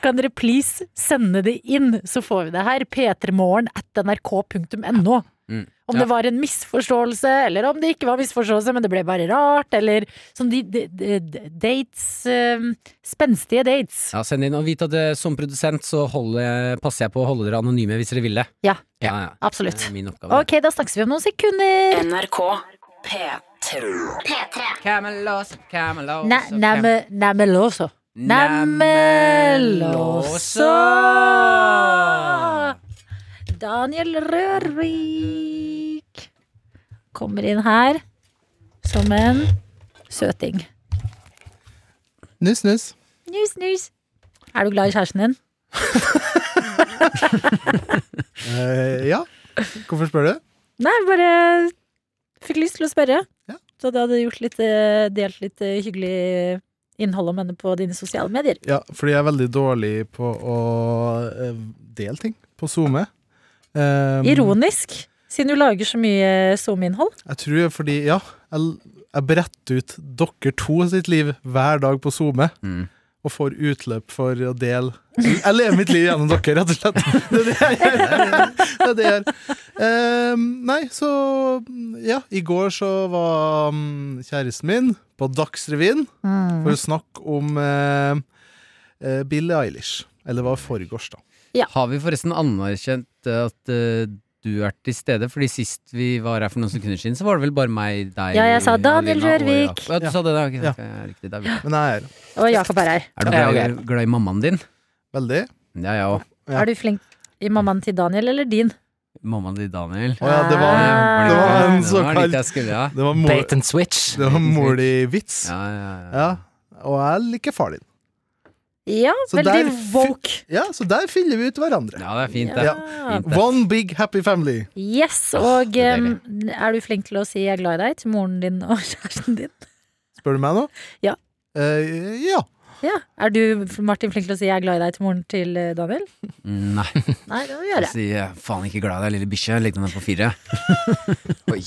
Speaker 4: Kan dere please sende det inn, så får vi det her. p3morgen at nrk.no.
Speaker 3: Mm.
Speaker 4: Om
Speaker 3: Ja.
Speaker 4: det var en misforståelse, eller om det ikke var misforståelse, men det ble bare rart, eller sånn de, de, de, de dates ehm, Spenstige dates.
Speaker 3: Ja, send inn. Og vit at eh, som produsent så holder, passer jeg på å holde dere anonyme hvis dere vil det.
Speaker 4: Ja.
Speaker 3: ja, ja. Det
Speaker 4: Absolutt.
Speaker 3: er min oppgave.
Speaker 4: Ok, da snakkes vi om noen sekunder.
Speaker 5: NRK P3. P3.
Speaker 3: Camelot, Camelot,
Speaker 4: Næ-
Speaker 3: Cam-
Speaker 4: næme- Næmelåså. Næmelåså! Daniel Rørvik kommer inn her som en søting.
Speaker 6: Nuss, nuss.
Speaker 4: Nus, nus. Er du glad i kjæresten din?
Speaker 6: Eh, ja. Hvorfor spør du?
Speaker 4: Nei, bare fikk lyst til å spørre.
Speaker 6: Ja.
Speaker 4: Så du hadde gjort litt, eh, delt litt eh, hyggelig innhold om henne på dine sosiale medier.
Speaker 6: Ja, fordi jeg er veldig dårlig på å eh, dele ting på SoMe. Um,
Speaker 4: Ironisk, siden du lager så mye SoMe-innhold.
Speaker 6: Jeg tror jeg fordi, ja, jeg, jeg bretter ut dere to sitt liv hver dag på SoMe.
Speaker 3: Mm.
Speaker 6: Og får utløp for å dele Jeg lever mitt liv gjennom dere, rett og slett. Det er det jeg gjør. Det er det jeg gjør. Ehm, nei, så Ja, i går så var mm, kjæresten min på Dagsrevyen for å snakke om eh, eh, Billie Eilish. Eller det var forgårs, da.
Speaker 3: Har vi forresten anerkjent eh, at eh, du er til stede? Fordi sist vi var her for noen sekunder siden, så var det vel bare meg, deg
Speaker 4: Ja, jeg sa
Speaker 3: Adelina,
Speaker 4: Daniel
Speaker 3: og
Speaker 4: Rørvik.
Speaker 3: Jakob. Ja, du sa det, da. Ok,
Speaker 6: Ja.
Speaker 3: ok, ja, riktig, da er vi-
Speaker 6: Men jeg er
Speaker 4: Og Jakob er her.
Speaker 3: Er du
Speaker 2: Ja,
Speaker 3: glad, i- glad i mammaen din?
Speaker 6: veldig
Speaker 3: Det er jeg òg.
Speaker 6: Ja.
Speaker 4: Er du flink i mammaen til Daniel eller din?
Speaker 3: Mammaen til Daniel.
Speaker 6: Å ja, det var,
Speaker 4: Ah.
Speaker 6: det var en
Speaker 3: Det var litt
Speaker 6: såkalt
Speaker 3: jeg skulle, ja.
Speaker 6: Det var, mor,
Speaker 2: Bait and switch.
Speaker 6: det var molig vits.
Speaker 3: Ja, ja, ja.
Speaker 6: Ja. Og jeg liker far din.
Speaker 4: Ja,
Speaker 6: Så der
Speaker 4: veldig
Speaker 6: fi-
Speaker 4: woke.
Speaker 6: Ja, så der fyller vi ut hverandre.
Speaker 3: ja, det er fint, det.
Speaker 6: Ja.
Speaker 3: Fint, det.
Speaker 6: One big happy family.
Speaker 4: Yes, og
Speaker 3: er
Speaker 4: em, er du flink til å si 'jeg er glad i deg' til moren din og *laughs* kjæresten din?
Speaker 6: Spør du meg nå?
Speaker 4: Ja.
Speaker 6: Eh, ja.
Speaker 4: Ja. Er du, Martin, flink til å si 'jeg er glad i deg' til moren til eh, Daniel?
Speaker 3: Mm, Nei,
Speaker 4: Nei, det må du gjøre.
Speaker 3: si eh, faen ikke glad i deg, lille bikkje. Legg deg ned på fire. Oi.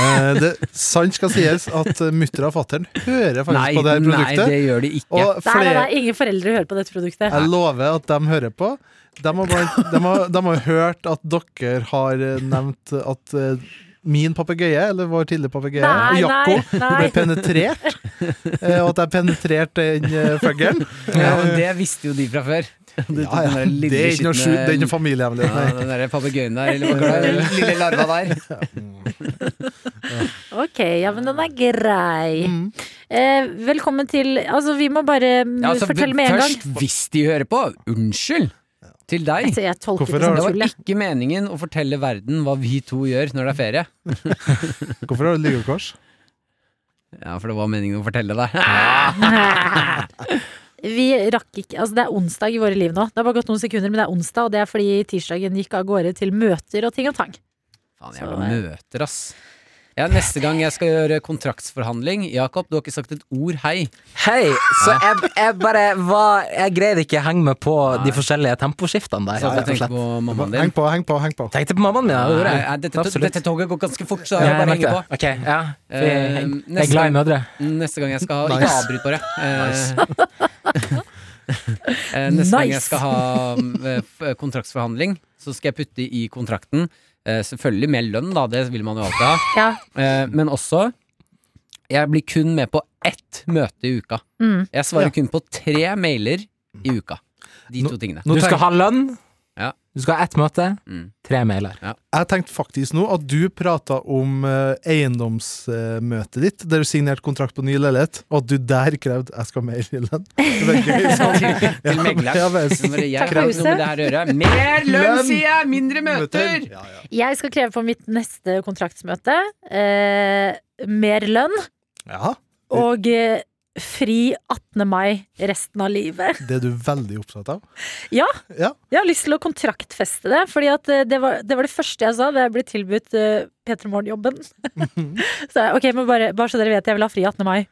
Speaker 6: Eh, det, sant skal sies at mutter'n og fatter'n hører faktisk
Speaker 3: Nei,
Speaker 6: på det her
Speaker 3: nei,
Speaker 6: produktet.
Speaker 3: det gjør de ikke.
Speaker 6: og
Speaker 4: Nei, nei,
Speaker 6: flere,
Speaker 4: nei, ingen foreldre hører på dette produktet.
Speaker 6: jeg lover at de hører på. De har, bare, de har, de har hørt at dere har eh, nevnt at eh, min papegøye, eller vår tidligere papegøye,
Speaker 4: Nei,
Speaker 6: Jakko,
Speaker 4: nei, nei.
Speaker 6: ble penetrert.
Speaker 4: *laughs*
Speaker 6: eh, Og at jeg penetrerte den eh, fuglen.
Speaker 3: Ja, men det visste jo de fra før.
Speaker 6: Ja, ja, det er ikke noe skjult, det er ikke noe familiehemmelighet.
Speaker 3: Ja,
Speaker 6: nei.
Speaker 3: den derre papegøyen der,
Speaker 6: *laughs*
Speaker 3: eller hva er det? lille larva der.
Speaker 4: Ok, ja, men den er grei.
Speaker 6: Mm.
Speaker 4: Eh, velkommen til Altså, vi må bare mm,
Speaker 3: Ja, altså,
Speaker 4: fortelle med en gang.
Speaker 3: Først, hvis de hører på, unnskyld til deg.
Speaker 4: Altså, jeg tolket
Speaker 6: Hvorfor
Speaker 4: det som
Speaker 6: har-
Speaker 3: Det var
Speaker 4: tull. jeg.
Speaker 3: ikke meningen å fortelle verden hva vi to gjør når det er ferie.
Speaker 6: Hvorfor har du lyggekors?
Speaker 3: Ja, for det var meningen å fortelle deg.
Speaker 4: *laughs* Vi rakk ikke Altså, det er onsdag i våre liv nå. Det har bare gått noen sekunder, men det er onsdag, og det er fordi tirsdagen gikk av gårde til møter og ting og tang.
Speaker 3: *laughs* Faen, jævla møter, ass. Ja, neste gang jeg skal gjøre kontraktsforhandling Jakob, du har ikke sagt et ord hei.
Speaker 2: Hei, så jeg, jeg bare var Jeg greide ikke å henge meg på de
Speaker 3: Nei.
Speaker 2: forskjellige temposkiftene der.
Speaker 3: Så du
Speaker 2: rett og
Speaker 3: tenker
Speaker 2: slett.
Speaker 3: på mammaen din.
Speaker 6: Heng på, heng på, heng på.
Speaker 2: Tenkte på mammaen min. Ja, det gjorde
Speaker 3: Nei,
Speaker 2: jeg.
Speaker 3: nei, dette,
Speaker 2: Absolutt.
Speaker 3: dette toget går ganske fort, så
Speaker 2: Ja,
Speaker 3: jeg
Speaker 2: jeg
Speaker 3: bare
Speaker 2: merker
Speaker 3: henger på.
Speaker 2: det. Ok, ja.
Speaker 3: Eh,
Speaker 2: Vi- Jeg jeg er glad
Speaker 3: neste
Speaker 2: i
Speaker 3: gang-
Speaker 2: mødre.
Speaker 3: Neste gang jeg skal ha Ikke
Speaker 6: Nice.
Speaker 3: avbryt, bare. Eh, eh, *laughs* neste gang jeg
Speaker 4: Nice.
Speaker 3: skal ha mm, eh, f- kontraktsforhandling, så skal jeg putte i kontrakten eh, Selvfølgelig med lønn, da, det vil man jo alltid ha.
Speaker 4: Ja.
Speaker 3: Eh, men også Jeg blir kun med på ett møte i uka.
Speaker 4: Mm.
Speaker 3: Jeg svarer
Speaker 6: Ja.
Speaker 3: kun på tre mailer i uka. De to tingene.
Speaker 6: Nå
Speaker 2: Du skal
Speaker 6: tenk-
Speaker 2: ha lønn,
Speaker 3: Ja.
Speaker 2: du skal ha ett møte,
Speaker 3: Mm.
Speaker 2: tre mailer.
Speaker 6: Jeg tenkte faktisk nå at du prata om eh, eiendomsmøtet ditt, der du signerte kontrakt på ny leilighet, og at du der krevde 'jeg skal ha mer i
Speaker 4: *laughs*
Speaker 6: lønn'. Det virker litt sånn.
Speaker 3: Til megleren.
Speaker 6: Ja, men-
Speaker 3: Så bare, Jeg
Speaker 4: Takk for
Speaker 3: har ikke noe
Speaker 4: huset.
Speaker 3: med det her å gjøre. Mer lønn,
Speaker 6: Lønn!
Speaker 3: sier jeg! Mindre møter!
Speaker 6: Ja, ja.
Speaker 4: Jeg skal kreve på mitt neste kontraktsmøte eh, mer lønn
Speaker 6: ja,
Speaker 4: og eh, fri 18. mai resten av livet.
Speaker 6: det er du veldig opptatt av.
Speaker 4: Ja.
Speaker 6: Ja,
Speaker 4: Jeg har lyst til å kontraktfeste det, fordi at eh, det var det, var det første jeg sa da jeg ble tilbudt uh, P3 Morgen-jobben. *laughs* så jeg, ok, men bare, bare så dere vet, jeg vil ha fri 18. mai.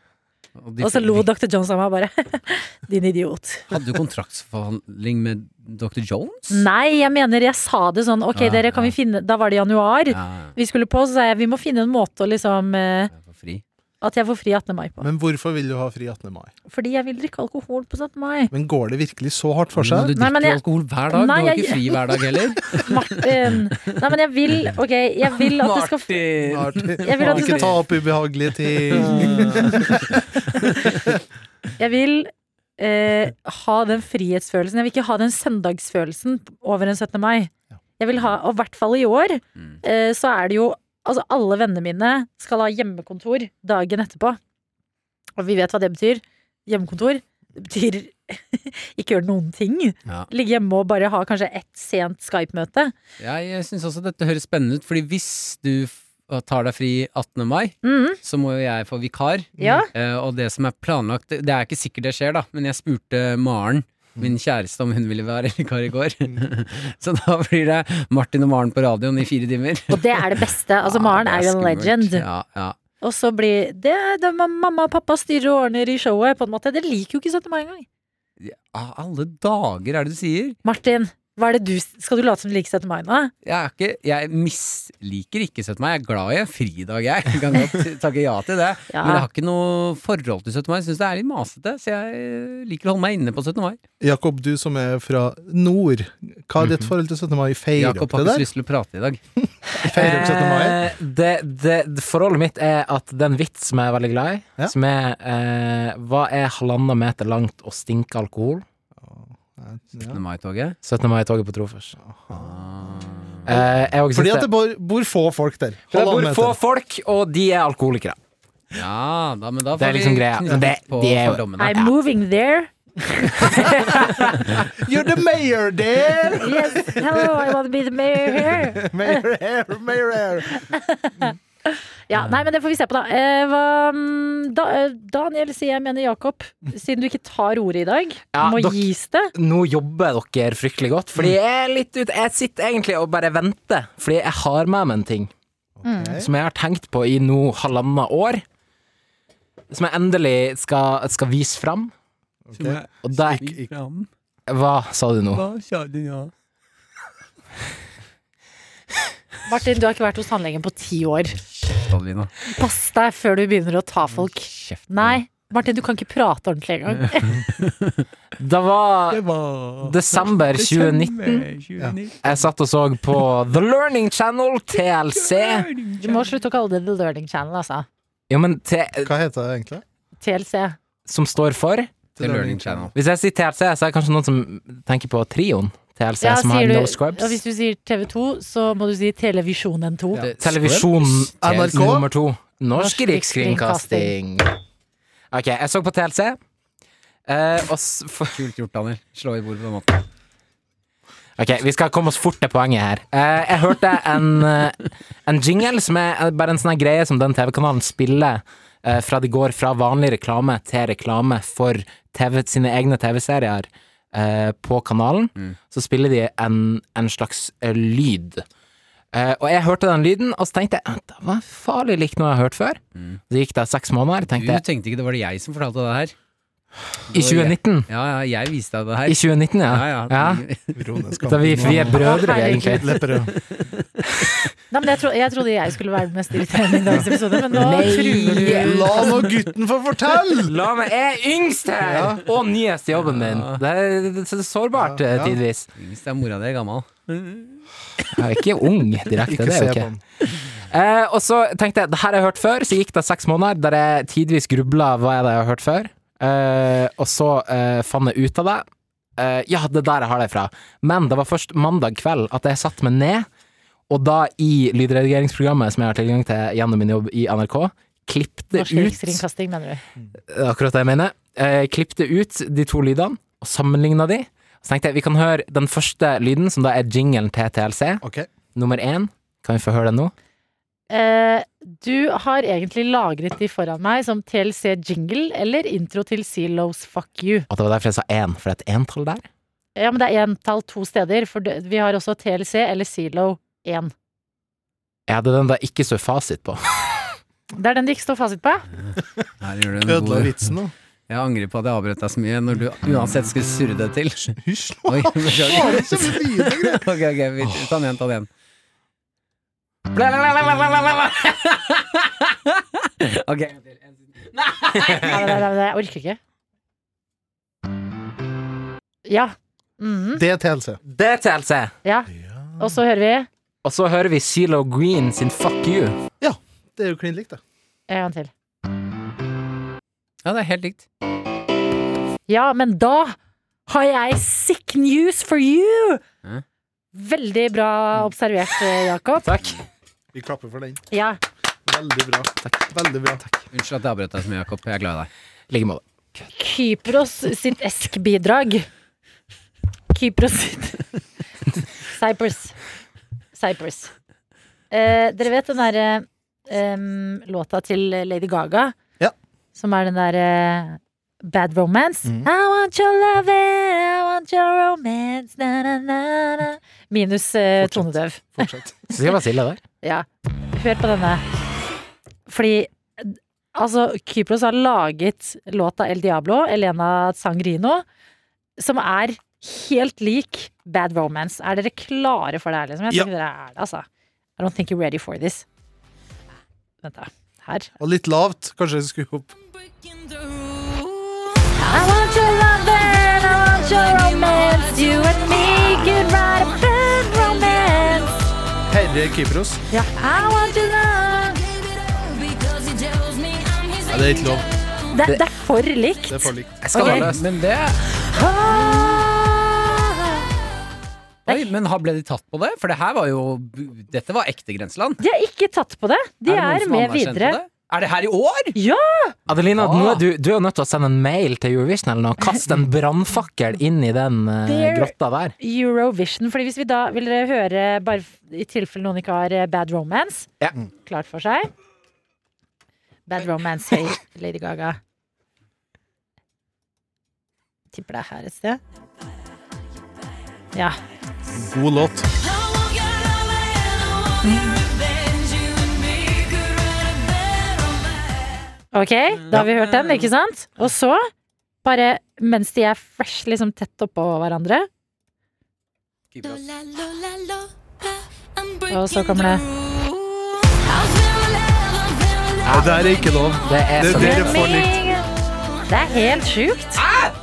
Speaker 3: Og de
Speaker 4: Og så lo dr. Jones av meg bare. *laughs* Din idiot.
Speaker 3: Hadde du kontraktsforhandling med Dr. Jones?
Speaker 4: Nei, jeg mener jeg sa det sånn, ok
Speaker 3: Ja,
Speaker 4: dere kan
Speaker 3: ja.
Speaker 4: vi finne Da var det januar.
Speaker 3: Ja,
Speaker 4: Vi skulle på, så sa jeg vi må finne en måte å liksom eh,
Speaker 3: jeg var fri.
Speaker 4: at jeg får fri 18. mai på.
Speaker 6: Men hvorfor vil du ha fri 18. mai?
Speaker 4: Fordi jeg vil drikke alkohol på 17. mai.
Speaker 6: Men går det virkelig så hardt for
Speaker 3: Men
Speaker 6: seg?
Speaker 3: Du
Speaker 4: Nei,
Speaker 3: drikker
Speaker 4: men
Speaker 3: jo
Speaker 4: jeg-
Speaker 3: alkohol hver dag,
Speaker 4: Nei,
Speaker 3: du har
Speaker 4: jeg-
Speaker 3: ikke fri hver dag
Speaker 4: *laughs*
Speaker 3: heller.
Speaker 4: Martin! Nei, men jeg vil Ok, jeg vil at det skal
Speaker 3: Martin.
Speaker 4: Mm. *laughs* Jeg vil at du
Speaker 6: Ikke
Speaker 4: skal
Speaker 6: ta opp ubehagelige ting.
Speaker 4: *laughs* Jeg vil eh, ha den frihetsfølelsen. Jeg vil ikke ha den søndagsfølelsen over en 17. mai. Jeg vil ha, og i hvert fall i år,
Speaker 3: Mm.
Speaker 4: eh, så er det jo Altså, alle vennene mine skal ha hjemmekontor dagen etterpå. Og vi vet hva det betyr. Hjemmekontor det betyr *laughs* ikke gjøre noen ting.
Speaker 3: Ja.
Speaker 4: Ligge hjemme og bare ha kanskje ett sent Skype-møte.
Speaker 3: Jeg, jeg syns også dette høres spennende ut, fordi hvis du f- tar deg fri 18. mai,
Speaker 4: Mhm.
Speaker 3: så må jo jeg få vikar.
Speaker 4: Ja.
Speaker 3: Eh, og det som er planlagt Det er ikke sikkert det skjer, da, men jeg spurte Maren, min kjæreste, om hun ville være *laughs* vikar i går. *laughs* så da blir det Martin og Maren på radioen i fire timer.
Speaker 4: Og det er det beste.
Speaker 3: *laughs*
Speaker 4: Altså,
Speaker 3: Ja,
Speaker 4: Maren
Speaker 3: det
Speaker 4: er jo en
Speaker 3: skummelt.
Speaker 4: legend.
Speaker 3: Ja, ja.
Speaker 4: Og så blir det, det Mamma og pappa styrer og ordner i showet, på en måte. Det liker jo ikke 17. mai engang.
Speaker 3: Ah, Alle dager er det du sier!
Speaker 4: Martin, hva er det du Skal du late som du liker 17. mai nå?
Speaker 3: Jeg, er ikke, jeg misliker ikke 17. mai. Jeg er glad i en fridag, jeg. Jeg
Speaker 2: *laughs*
Speaker 3: kan godt takke ja til det.
Speaker 4: Ja.
Speaker 3: Men jeg har ikke noe forhold til 17. mai. Jeg syns det er litt masete, så jeg liker å holde meg inne på 17. mai.
Speaker 6: Jakob, du som er fra nord, hva er ditt forhold til 17. mai? Feirer
Speaker 3: Mhm. Jakob
Speaker 6: opp det
Speaker 3: har ikke så
Speaker 6: der?
Speaker 3: lyst til å prate i dag.
Speaker 6: Feirer opp 17. mai?
Speaker 2: Eh, det, det, det- forholdet mitt er at det er en vits som jeg er veldig glad i,
Speaker 6: Ja.
Speaker 2: som er eh, Hva er halvannen meter langt og stinker alkohol?
Speaker 6: Ja.
Speaker 3: 17. mai-toget.
Speaker 2: 17. mai-toget på Trofors.
Speaker 3: Ah.
Speaker 2: Eh, jeg også
Speaker 6: Fordi
Speaker 2: synes
Speaker 6: at det bor, bor få folk der.
Speaker 2: For det bor
Speaker 6: Halvannen
Speaker 2: få
Speaker 6: meter.
Speaker 2: folk, og de er alkoholikere.
Speaker 3: Ja, da, men da
Speaker 2: Det er
Speaker 3: får
Speaker 2: liksom
Speaker 3: vi
Speaker 2: greia.
Speaker 3: knyttet
Speaker 2: Det-
Speaker 3: på
Speaker 2: de er jo-
Speaker 3: fordommene.
Speaker 4: I'm moving there.
Speaker 6: You're the mayor there!
Speaker 4: Yes, hello, I want to be the mayor here.
Speaker 6: *laughs* Mayor here, mayor here.
Speaker 4: Ja, nei, men det får vi se på, da. Eh, hva, mm, da eh, Daniel sier jeg mener Jakob, siden du ikke tar ordet i dag.
Speaker 2: Ja,
Speaker 4: må
Speaker 2: dok-
Speaker 4: gis det.
Speaker 2: Nå jobber dere fryktelig godt, fordi jeg er litt ut Jeg sitter egentlig og bare venter, fordi jeg har med meg en ting
Speaker 6: Mm.
Speaker 2: som jeg har tenkt på i nå halvannet år, som jeg endelig skal, skal vise fram.
Speaker 6: Ok.
Speaker 2: Og det Hva sa du nå?
Speaker 4: Martin, du har ikke vært hos tannlegen på ti år.
Speaker 3: Kjeft, Adelina.
Speaker 4: Pass deg før du begynner å ta folk.
Speaker 3: Kjeft.
Speaker 4: Nei, Martin, du kan ikke prate ordentlig engang. *laughs*
Speaker 2: Det var
Speaker 6: Det var
Speaker 2: desember 2019. Jeg satt og så på The Learning Channel, TLC.
Speaker 4: Du må slutte å kalle det The Learning Channel, altså.
Speaker 2: Jo, men T-
Speaker 6: Hva heter det egentlig?
Speaker 4: TLC.
Speaker 2: som står for
Speaker 3: Til Learning Channel.
Speaker 2: Hvis jeg sier TLC, så er det kanskje noen som tenker på trioen TLC, som har No
Speaker 4: sier du- Og hvis
Speaker 2: Scrubs.
Speaker 4: du sier TV2, så må du si Televisjonen 2.
Speaker 3: Det-
Speaker 2: Televisjon
Speaker 6: NRK?
Speaker 2: nummer to. Norsk
Speaker 4: Norsk
Speaker 2: Rikskringkasting. Ok, jeg så på TLC. Eh, og s for,
Speaker 3: Kult gjort, Daniel. Slå i bordet på den måten.
Speaker 2: ok, vi skal komme oss fort til poenget her. Eh, jeg hørte en, eh, en jingle som er bare en sånn her greie som den TV-kanalen spiller eh, fra de går fra vanlig reklame til reklame for TV, sine egne TV-serier eh, på kanalen. Så spiller de en, en slags eh, lyd. Eh, og jeg hørte den lyden, og så tenkte jeg det var farlig likt noe jeg har hørt før. Så gikk det seks måneder,
Speaker 3: Du
Speaker 2: tenkte jeg.
Speaker 3: tenkte ikke det var det jeg som fortalte det her?
Speaker 2: I 2019.
Speaker 3: Ja, ja, jeg viste deg det
Speaker 2: I
Speaker 3: her.
Speaker 2: 2019, ja.
Speaker 3: Ja, ja.
Speaker 2: Da vi, vi er brødre, vi, egentlig.
Speaker 6: Lepperød.
Speaker 4: Nei, men jeg, tro, jeg trodde jeg skulle være den mest irriterende i dagens episode, men nå
Speaker 2: Nei.
Speaker 4: truer du.
Speaker 6: La nå gutten få fortelle!
Speaker 2: La meg Jeg er yngst her! Og nyest i jobben min. Det er, det er sårbart, eh,
Speaker 6: Ja, ja.
Speaker 2: tidvis.
Speaker 3: Yngst er mora di, gammel.
Speaker 2: Jeg er ikke ung direkte,
Speaker 6: Ikke
Speaker 2: det er
Speaker 6: se
Speaker 2: jo
Speaker 6: på
Speaker 2: ikke.
Speaker 6: han.
Speaker 2: Eh, og så tenkte jeg, det her har jeg hørt før, så gikk det seks måneder der jeg tidvis grubla hva er det jeg har hørt før. Eh, og så eh, fant jeg ut av det. Eh, ja, det er der jeg har det fra. Men det var først mandag kveld at jeg satte meg ned, og da i lydredigeringsprogrammet som jeg har tilgang til gjennom min jobb i NRK, klippte
Speaker 4: Norsk
Speaker 2: ut
Speaker 4: rikskringkasting, mener du.
Speaker 2: Det er akkurat det jeg mener. Eh, klippte ut de to lydene og sammenligna de. Så tenkte jeg vi kan høre den første lyden, som da er jinglen til TLC.
Speaker 6: Ok.
Speaker 2: Nummer én. Kan vi få høre den nå?
Speaker 4: Eh, du har egentlig lagret de foran meg som TLC Jingle eller intro til Zelos Fuck You.
Speaker 2: Og det var derfor jeg sa én, for det er et entall der.
Speaker 4: Ja, men det er entall to steder, for det, vi har også TLC eller Zelo 1.
Speaker 2: Jeg hadde den da ikke så fasit på. *laughs*
Speaker 4: Det er den det ikke står fasit på.
Speaker 3: Her gjør du en
Speaker 6: Ødela
Speaker 3: god
Speaker 6: vitsen nå.
Speaker 3: Jeg angrer på at jeg avbrøt deg så mye når du uansett skulle surre det *laughs* til.
Speaker 6: Hysj nå!
Speaker 3: Oi, beklager.
Speaker 6: Det
Speaker 3: Ok,
Speaker 6: kommer videre greier.
Speaker 3: ok, vi ta den igjen, ta den igjen. Ok.
Speaker 4: Nei, nei, nei, nei, jeg orker ikke. Ja. Mhm,
Speaker 6: DTLC.
Speaker 2: DTLC.
Speaker 4: ja. Og så hører vi
Speaker 2: Og så hører vi Zelo Green sin Fuck You.
Speaker 6: Det er jo klin likt, det.
Speaker 4: en gang til.
Speaker 3: Ja, det er helt likt.
Speaker 4: Ja, men da har jeg sick news for you!
Speaker 3: Hæ?
Speaker 4: Veldig bra observert, eh, Jakob.
Speaker 2: Takk.
Speaker 6: Vi klapper for den.
Speaker 4: Ja.
Speaker 6: Veldig bra. Veldig bra.
Speaker 3: Unnskyld at jeg avbrøt deg så mye, Jakob. Jeg er glad i deg.
Speaker 2: I like måte.
Speaker 4: Kypros sitt Esk-bidrag. Kypros sitt Cyprus. Cyprus. Eh, dere vet den derre em, låta til Lady Gaga?
Speaker 6: Ja.
Speaker 4: Som er den derre eh, Bad Romance.
Speaker 6: Mhm.
Speaker 4: I want your love, eh, I want your romance na, na, na, na. Minus eh, tonedøv.
Speaker 6: Fortsett.
Speaker 2: Så skal jeg være stille der.
Speaker 4: Ja. Hør på denne. Fordi d- altså, Kypros har laget låta El Diablo, Elena Sangrino, som er helt lik Bad Romance. Er dere klare for det her, liksom? Jeg tror ikke dere er det, altså. I don't think you're ready for this. Vent, da. Her.
Speaker 6: Og litt lavt. Kanskje jeg skulle opp.
Speaker 4: I want your love and I want your romance. You and me could write a bad romance.
Speaker 6: Herre Kypros.
Speaker 4: Ja. I want your love.
Speaker 6: Nei, det er ikke lov.
Speaker 4: Det, det er for likt.
Speaker 6: Det er for likt.
Speaker 2: Jeg skal være løs.
Speaker 3: Men det
Speaker 4: Ah!
Speaker 3: Oi, men har- ble de tatt på det? For det her var jo Dette var ekte grenseland.
Speaker 4: De har ikke tatt på det. De
Speaker 3: det noen
Speaker 4: er,
Speaker 3: som
Speaker 4: med
Speaker 3: anerkjente
Speaker 4: videre.
Speaker 3: det? Er det her i år?
Speaker 2: Adelina,
Speaker 3: Ah.
Speaker 2: nå er du, du er jo nødt til å sende en mail til Eurovision eller noe. Kast en brannfakkel inn i den eh,
Speaker 4: There-
Speaker 2: grotta der.
Speaker 4: Eurovision. Fordi hvis vi da vil dere høre, bare f- i tilfelle noen ikke har eh, Bad Romance
Speaker 2: Ja.
Speaker 4: klart for seg Bad Romance, høy Lady Gaga. Tipper det er her et sted. Ja.
Speaker 6: God låt.
Speaker 4: Ok, da har vi hørt den, ikke sant? Og så, bare mens de er fresh liksom tett oppå hverandre Og så kommer det
Speaker 6: Nei, det her er ikke lov.
Speaker 2: Det er
Speaker 6: Det-
Speaker 2: så
Speaker 6: det-
Speaker 2: likt.
Speaker 6: er for
Speaker 4: Det er helt sjukt.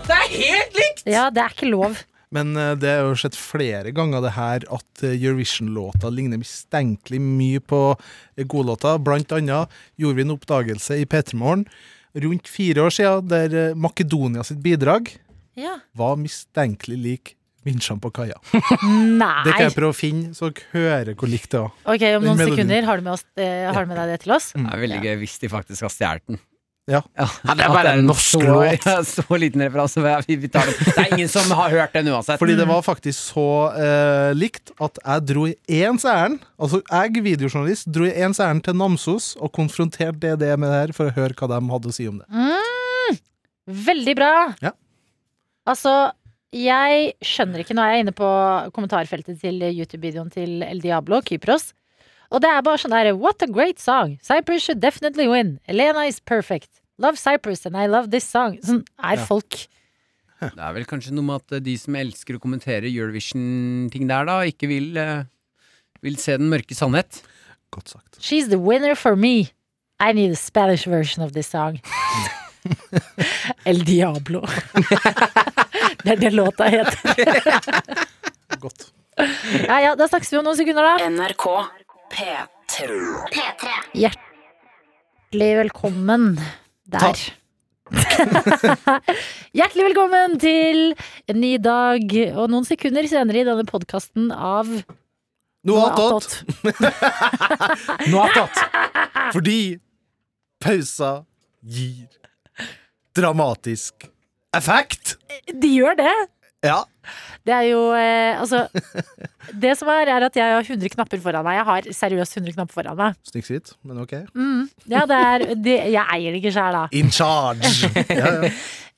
Speaker 3: Det er helt likt!
Speaker 4: Ja, det er ikke lov.
Speaker 6: Men eh, det er jo sett flere ganger det her at eh, Eurovision-låta ligner mistenkelig mye på eh, godlåta. Blant annet gjorde vi en oppdagelse i P3morgen rundt fire år siden, der eh, Makedonia sitt bidrag
Speaker 4: Ja.
Speaker 6: var mistenkelig lik Vinsjan på kaia. Det
Speaker 4: Nei.
Speaker 6: kan jeg prøve å finne, så dere hører hvor likt det var.
Speaker 4: Ok, om noen
Speaker 6: Den melodien.
Speaker 4: sekunder har du med, oss, eh, har du med deg det til oss.
Speaker 6: Mm.
Speaker 3: Det er veldig gøy hvis de faktisk har stjålet den.
Speaker 6: Ja.
Speaker 2: det er
Speaker 3: At
Speaker 2: bare
Speaker 3: en
Speaker 2: en norsk
Speaker 3: så,
Speaker 2: låt.
Speaker 3: ja, *laughs* så liten referanse. men Vi, vi tar den. Det er ingen som har hørt den uansett.
Speaker 6: Fordi det var faktisk så eh, likt at jeg dro i ens ærend, altså jeg, videojournalist, dro i ens ærend til Namsos og konfronterte DDE med det her for å høre hva de hadde å si om det.
Speaker 4: Mm. Veldig bra.
Speaker 6: Ja.
Speaker 4: Altså, jeg skjønner ikke Nå er jeg inne på kommentarfeltet til YouTube-videoen til El Diablo, Kypros. Og det er bare sånn derre What a great song! Cyprus should definitely win. Elena is perfect. Love Cyprus and I love this song. Sånn er
Speaker 6: Ja.
Speaker 4: folk.
Speaker 3: Det er vel kanskje noe med at eh, de som elsker å kommentere Eurovision-ting der, da, ikke vil, eh, vil se den mørke sannhet.
Speaker 6: Godt sagt.
Speaker 4: She's the winner for me. I need a Spanish version of this song. *laughs* El Diablo. *laughs* det er det låta heter.
Speaker 6: Godt.
Speaker 4: Ja, ja, da snakkes vi om noen sekunder, da.
Speaker 5: NRK P3. P3.
Speaker 4: Hjertelig velkommen der. *laughs* Hjertelig velkommen til en ny dag og noen sekunder senere i denne podkasten av
Speaker 6: Noe attåt.
Speaker 4: Attåt.
Speaker 6: *laughs*
Speaker 2: Noe attåt.
Speaker 6: Fordi pausa gir dramatisk effekt.
Speaker 4: De gjør det!
Speaker 6: Ja.
Speaker 4: Det er jo eh, Altså, det som er, er at jeg har 100 knapper foran meg. Jeg har seriøst 100 knapper foran meg.
Speaker 6: Snikskritt, men ok.
Speaker 4: Mm. Ja, det er det, Jeg eier det ikke sjøl, da.
Speaker 6: In charge!
Speaker 4: *laughs*
Speaker 6: Ja, ja.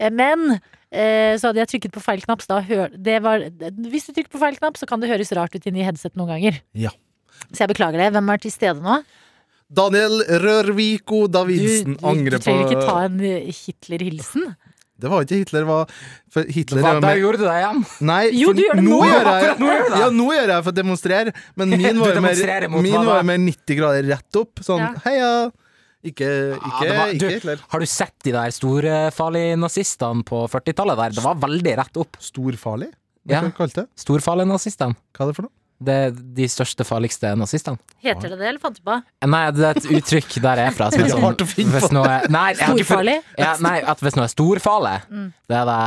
Speaker 4: Eh, Men eh, så hadde jeg trykket på feil knapp. så Da hør, det var, hvis du trykker på feil knapp, så kan det høres rart ut inni headset noen ganger.
Speaker 6: Ja.
Speaker 4: Så jeg beklager det. Hvem er til stede nå?
Speaker 6: Daniel Rørviko Davidsen angrer
Speaker 4: du
Speaker 6: på
Speaker 4: trenger ikke ta en eh, Hitler-hilsen.
Speaker 6: Det var ikke Hitler, det var for Hitler
Speaker 2: Hva,
Speaker 6: er jo
Speaker 2: da
Speaker 6: med-
Speaker 2: gjorde du det igjen.
Speaker 6: Nei,
Speaker 4: Jo,
Speaker 6: for
Speaker 4: du gjør det nå.
Speaker 6: Gjør jeg,
Speaker 2: Akkurat nå gjør du det.
Speaker 6: Ja, nå gjør jeg det for å demonstrere, men
Speaker 2: *laughs* Du
Speaker 6: min var jo mer,
Speaker 2: demonstrerer mot
Speaker 6: min
Speaker 2: hva da?
Speaker 6: var jo mer 90 grader rett opp. Sånn
Speaker 4: Ja.
Speaker 6: heia! Ikke, ikke,
Speaker 2: det var- du-
Speaker 6: ikke Hitler.
Speaker 2: Har du sett de der store farlige nazistene på 40-tallet der? Det var veldig rett opp.
Speaker 6: Storfarlig? Hva
Speaker 2: Ja.
Speaker 6: skal vi kalle det?
Speaker 2: Storfarlige nazistene.
Speaker 6: Hva er det for noe?
Speaker 2: Det er de største, farligste nazistene.
Speaker 4: Heter det det, eller fant du på?
Speaker 2: Nei, det er et uttrykk der jeg er fra. Som er
Speaker 6: Det er
Speaker 2: sånn,
Speaker 6: hardt å finne på.
Speaker 2: hvis noe, nei, jeg har ikke funnet-
Speaker 4: Storfarlig?
Speaker 2: Ja, nei, at hvis noe er storfarlig, det er det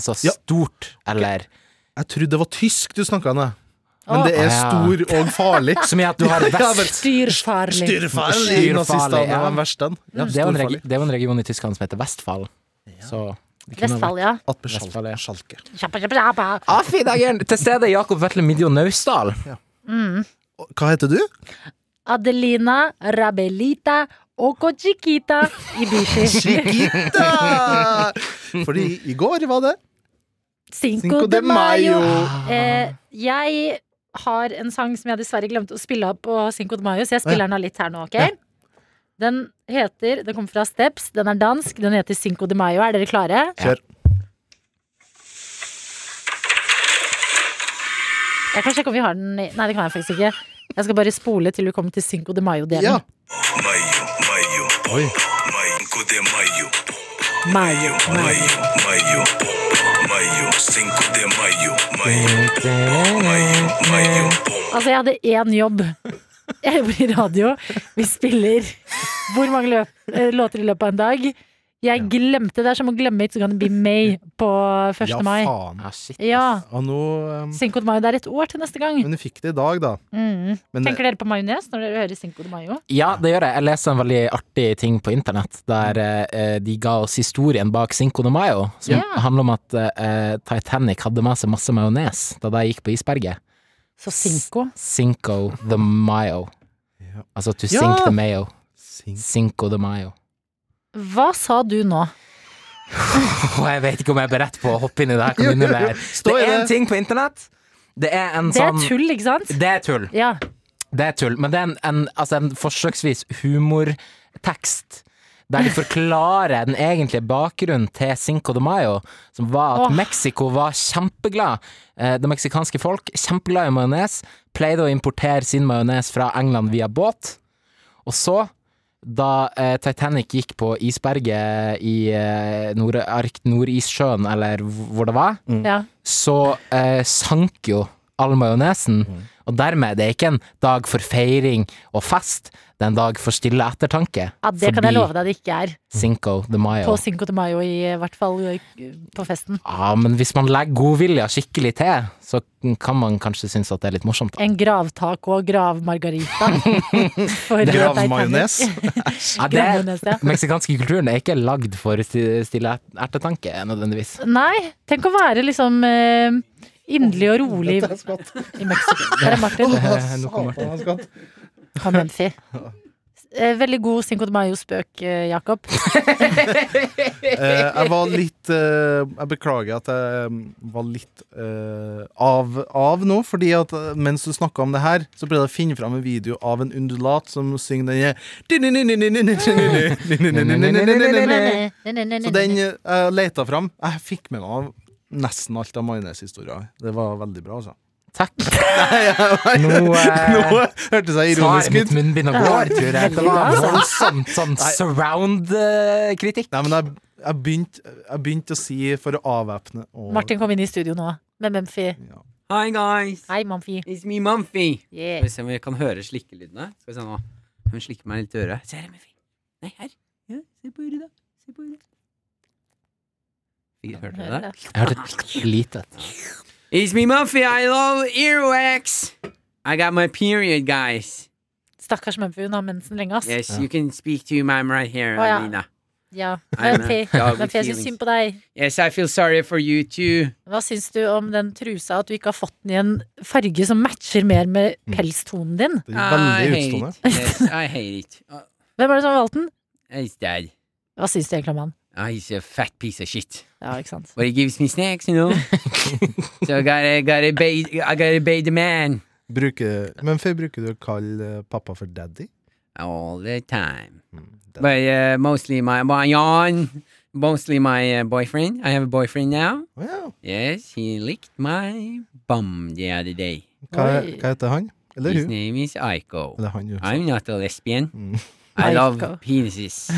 Speaker 2: altså
Speaker 6: Ja.
Speaker 2: stort eller
Speaker 6: Jeg trodde det var tysk du snakka om, jeg. men det
Speaker 2: Å.
Speaker 6: er
Speaker 2: Ja.
Speaker 6: stor og
Speaker 2: *laughs*
Speaker 6: farlig.
Speaker 2: Som i at du har
Speaker 6: Ja,
Speaker 2: vest.
Speaker 6: vel.
Speaker 4: Styrfarlig.
Speaker 6: Styrfarlig!
Speaker 2: Styrfarlig,
Speaker 6: Nazistene
Speaker 2: ja.
Speaker 6: er de verste. Ja,
Speaker 2: Det er jo en, regi
Speaker 6: storfarlig.
Speaker 2: det er jo en region i Tyskland som heter Vestfold. Så det kunne vært-
Speaker 4: Vestfold, ja.
Speaker 6: Atme Schal-
Speaker 2: Vestfold, ja.
Speaker 6: Schalke.
Speaker 4: Kjappa, kjappa, kjappa.
Speaker 2: Ah, fy dagen! Til stede er Jakob Vetle Midjo Naustdal.
Speaker 6: Og Hva heter du?
Speaker 4: Mm. Adelina Rabelita Oko Chiquita Ibishi.
Speaker 2: *laughs*
Speaker 6: Chiquita! Fordi i går var det
Speaker 4: Cinco de Mayo. Eh, jeg har en sang som jeg dessverre glemte å spille av på Cinco de Mayo, så jeg spiller den av litt her nå,
Speaker 6: Ja.
Speaker 4: ok? Den heter Den kommer fra Steps, den er dansk, den heter Cinco de Mayo. Er dere klare?
Speaker 6: Kjør.
Speaker 4: Jeg kan sjekke om vi har den i Nei, det kan jeg faktisk ikke. Jeg skal bare spole til vi kommer til Cinco de Mayo-delen.
Speaker 6: Ja.
Speaker 7: Mayo, mayo,
Speaker 6: Oi.
Speaker 7: mayo, cinco de mayo,
Speaker 4: Mayo.
Speaker 7: mayo, mayo, mayo, cinco de mayo, mayo,
Speaker 2: Ah,
Speaker 7: mayo,
Speaker 4: Altså, jeg hadde én jobb. Jeg jobber i radio. Vi spiller hvor mange løp, eh, låter i løpet av en dag. Jeg glemte det. er som å glemme It's Gonna Be May på 1.
Speaker 6: Ja,
Speaker 4: mai.
Speaker 6: faen.
Speaker 2: Ah, shit.
Speaker 4: Ja.
Speaker 6: Og nå um,
Speaker 4: Cinco de Mayo. Det er et år til neste gang.
Speaker 6: Men du fikk det i dag, da.
Speaker 4: Mm.
Speaker 6: Men eh,
Speaker 4: Tenker dere på majones når dere hører Cinco de Mayo?
Speaker 2: Ja, det gjør jeg. Jeg leste en veldig artig ting på internett, der eh, de ga oss historien bak Cinco de Mayo, som
Speaker 4: Ja.
Speaker 2: handler om at eh, Titanic hadde med seg masse majones da de gikk på isberget.
Speaker 4: Så Cinco.
Speaker 2: Cinco de Mayo.
Speaker 6: Ja.
Speaker 2: Altså to
Speaker 6: Ja.
Speaker 2: sink the mayo.
Speaker 6: Sing-
Speaker 2: Cinco de Mayo.
Speaker 4: Hva sa du nå?
Speaker 2: Åh, jeg vet ikke om jeg er beredt på å hoppe inn i det her kommunene her.
Speaker 6: Stå
Speaker 2: Det
Speaker 6: i
Speaker 2: er en
Speaker 6: det.
Speaker 2: ting på internett. Det er en
Speaker 4: Det er
Speaker 2: sånn
Speaker 4: tull, ikke sant?
Speaker 2: Det er tull.
Speaker 4: Ja.
Speaker 2: Det er tull, men det er en, en, altså en forsøksvis humortekst der de forklarer den egentlige bakgrunnen til Cinco de Mayo, som var at
Speaker 4: Åh.
Speaker 2: Mexico var kjempeglad. Eh, Det meksikanske folk, kjempeglad i majones, pleide å importere sin majones fra England via båt. Og så, da eh, Titanic gikk på isberget i eh, Nord Ark Nordissjøen, eller hv- hvor det var,
Speaker 4: ja.
Speaker 2: så eh, sank jo all majonesen. Og dermed det er ikke en dag for feiring og fest, det er en dag for stille ettertanke.
Speaker 4: ja det kan jeg love deg det ikke er.
Speaker 2: Cinco de Mayo.
Speaker 4: På Cinco de Mayo, i hvert fall eh, på festen.
Speaker 2: Ja, men hvis man legger godvilja skikkelig til, så kan man kanskje synes at det er litt morsomt. da.
Speaker 4: En gravtaco og gravmargarita. For
Speaker 6: Gravmajones. *laughs*
Speaker 2: Ja, det er-
Speaker 4: gravmajones, ja.
Speaker 2: meksikanske kulturen er ikke lagd for sti- stille ettertanke, nødvendigvis.
Speaker 4: Nei, tenk å være liksom eh, inderlig og rolig
Speaker 6: *laughs*
Speaker 4: *laughs* i Mexico. Der er Martin.
Speaker 2: Eh, nå kommer Martin.
Speaker 6: Satan,
Speaker 4: *laughs*
Speaker 6: han skvatt.
Speaker 4: Kom igjen, Fi. Eh, Veldig god Cinco de Mayo-spøk, eh, Jakob.
Speaker 6: Eh, jeg var litt eh, Jeg beklager at jeg mm, var litt eh, av, av nå, fordi at eh, mens du snakka om det her, så prøvde jeg å finne fram en video av en undulat som synger eh, den Så den eh, jeg leita fram. Jeg fikk med meg av nesten alt av majoneshistoria. Det var veldig bra, altså.
Speaker 2: Takk.
Speaker 6: *laughs*
Speaker 2: Nå, eh,
Speaker 6: Nå hørtes jeg
Speaker 2: tar
Speaker 6: ironisk
Speaker 2: mitt
Speaker 6: ut.
Speaker 2: munnbind og går, tror jeg. Det var
Speaker 4: Veldig bra.
Speaker 2: voldsomt sånn eh, surround-kritikk.
Speaker 6: Nei, men jeg, jeg begynte jeg begynte å si for å avvæpne og-
Speaker 4: Martin kom inn i studio nå med Mumphy.
Speaker 3: Hi guys,
Speaker 4: Hei, Mumphy.
Speaker 3: it's me Mumphy. Skal
Speaker 4: Yeah.
Speaker 3: vi se om vi kan høre slikkelydene. Skal vi se nå. Hun slikker meg litt i øret. Se her, Mumphy. Nei, her. Ja, se på øret, da. Se på øret. Fikk- Hørte dere det?
Speaker 2: Jeg hørte lite.
Speaker 3: It's me Mumphy, I love earwax. I got my period, guys.
Speaker 4: Stakkars Mumphy, hun har mensen lenge, ass.
Speaker 3: Yes, you can speak to ma'am right here,
Speaker 4: Å, ja.
Speaker 3: Alina.
Speaker 4: Ja.
Speaker 3: Nei, men-
Speaker 4: Mumphy,
Speaker 3: Ja, good
Speaker 4: Mumphy, jeg syns
Speaker 3: feelings.
Speaker 4: synd på deg.
Speaker 3: Yes, I feel sorry for you too.
Speaker 4: Hva syns du om den trusa, at du ikke har fått den i en farge som matcher mer med
Speaker 3: Mm.
Speaker 4: pelstonen din?
Speaker 6: Det er veldig utstående.
Speaker 3: I hate it. Yes, I hate it. Uh,
Speaker 4: Hvem er det som har valgt den?
Speaker 3: he's dead.
Speaker 4: Hva syns du egentlig om han?
Speaker 3: Uh, he's a fat piece of shit.
Speaker 4: Ja, ikke sant?
Speaker 3: But he gives me snacks, you know. so I gotta, gotta obey, I gotta obey the man
Speaker 6: Bruker, men før bruker du å kalle eh, pappa for daddy?
Speaker 3: all the time.
Speaker 6: daddy.
Speaker 3: But uh, mostly my, my yawn, mostly my uh, boyfriend. I have a boyfriend now.
Speaker 6: Å ja.
Speaker 3: Yes, he licked my bum the other day.
Speaker 6: Hva,
Speaker 4: Oi.
Speaker 6: hva heter han? Eller
Speaker 3: His
Speaker 6: hun?
Speaker 3: name is Aiko.
Speaker 6: Eller han, jo.
Speaker 3: I'm not a lesbian. I
Speaker 4: Nei,
Speaker 3: love
Speaker 4: go.
Speaker 3: penises.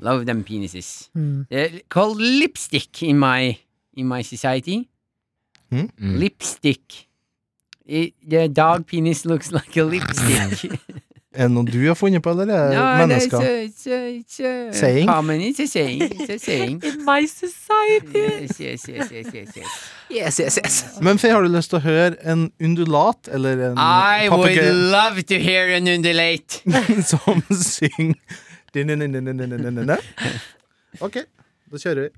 Speaker 3: Love them penises.
Speaker 4: Mm.
Speaker 3: They're called Eh, lipstick in my in my society.
Speaker 6: Hmm?
Speaker 2: Mm.
Speaker 3: Lipstick. It, the dog penis looks like a lipstick.
Speaker 6: *laughs*
Speaker 3: *laughs*
Speaker 6: Er det noe du har funnet på, eller er det
Speaker 3: no, it's
Speaker 6: mennesker?
Speaker 3: a, it's a, it's a
Speaker 6: Saying?
Speaker 3: Common. It's a saying. It's a
Speaker 6: *laughs*
Speaker 3: saying.
Speaker 4: In my society.
Speaker 3: yes, yes, yes, yes, yes, yes.
Speaker 2: Yes, yes, yes.
Speaker 6: Men Faye, har du lyst til å høre en undulat eller en
Speaker 3: I would
Speaker 6: papegøye
Speaker 3: love to hear an
Speaker 6: *laughs*
Speaker 3: undulate.
Speaker 6: som synger Din-din-din-din-din-din-din-din? Ok, da kjører vi.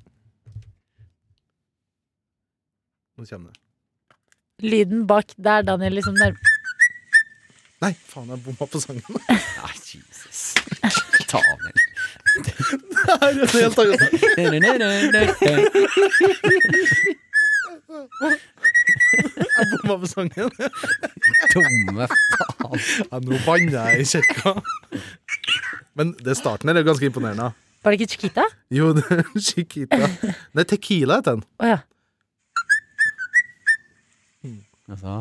Speaker 6: Nå kommer det.
Speaker 4: Lyden bak der, Daniel, liksom nærmer
Speaker 6: Nei, faen, jeg bomma på sangen. *laughs*
Speaker 3: Ah, Jesus. *laughs* Ta av den.
Speaker 6: Det er en helt annen sang. *laughs* Jeg bomma på sangen.
Speaker 3: Dumme faen.
Speaker 6: Ja, nå banner jeg i kirka. Men det starten her er ganske imponerende.
Speaker 4: Var det ikke Chiquita?
Speaker 6: Jo, *laughs* det er Chiquita. Nei, Tequila heter den.
Speaker 4: Å ja.
Speaker 3: Altså.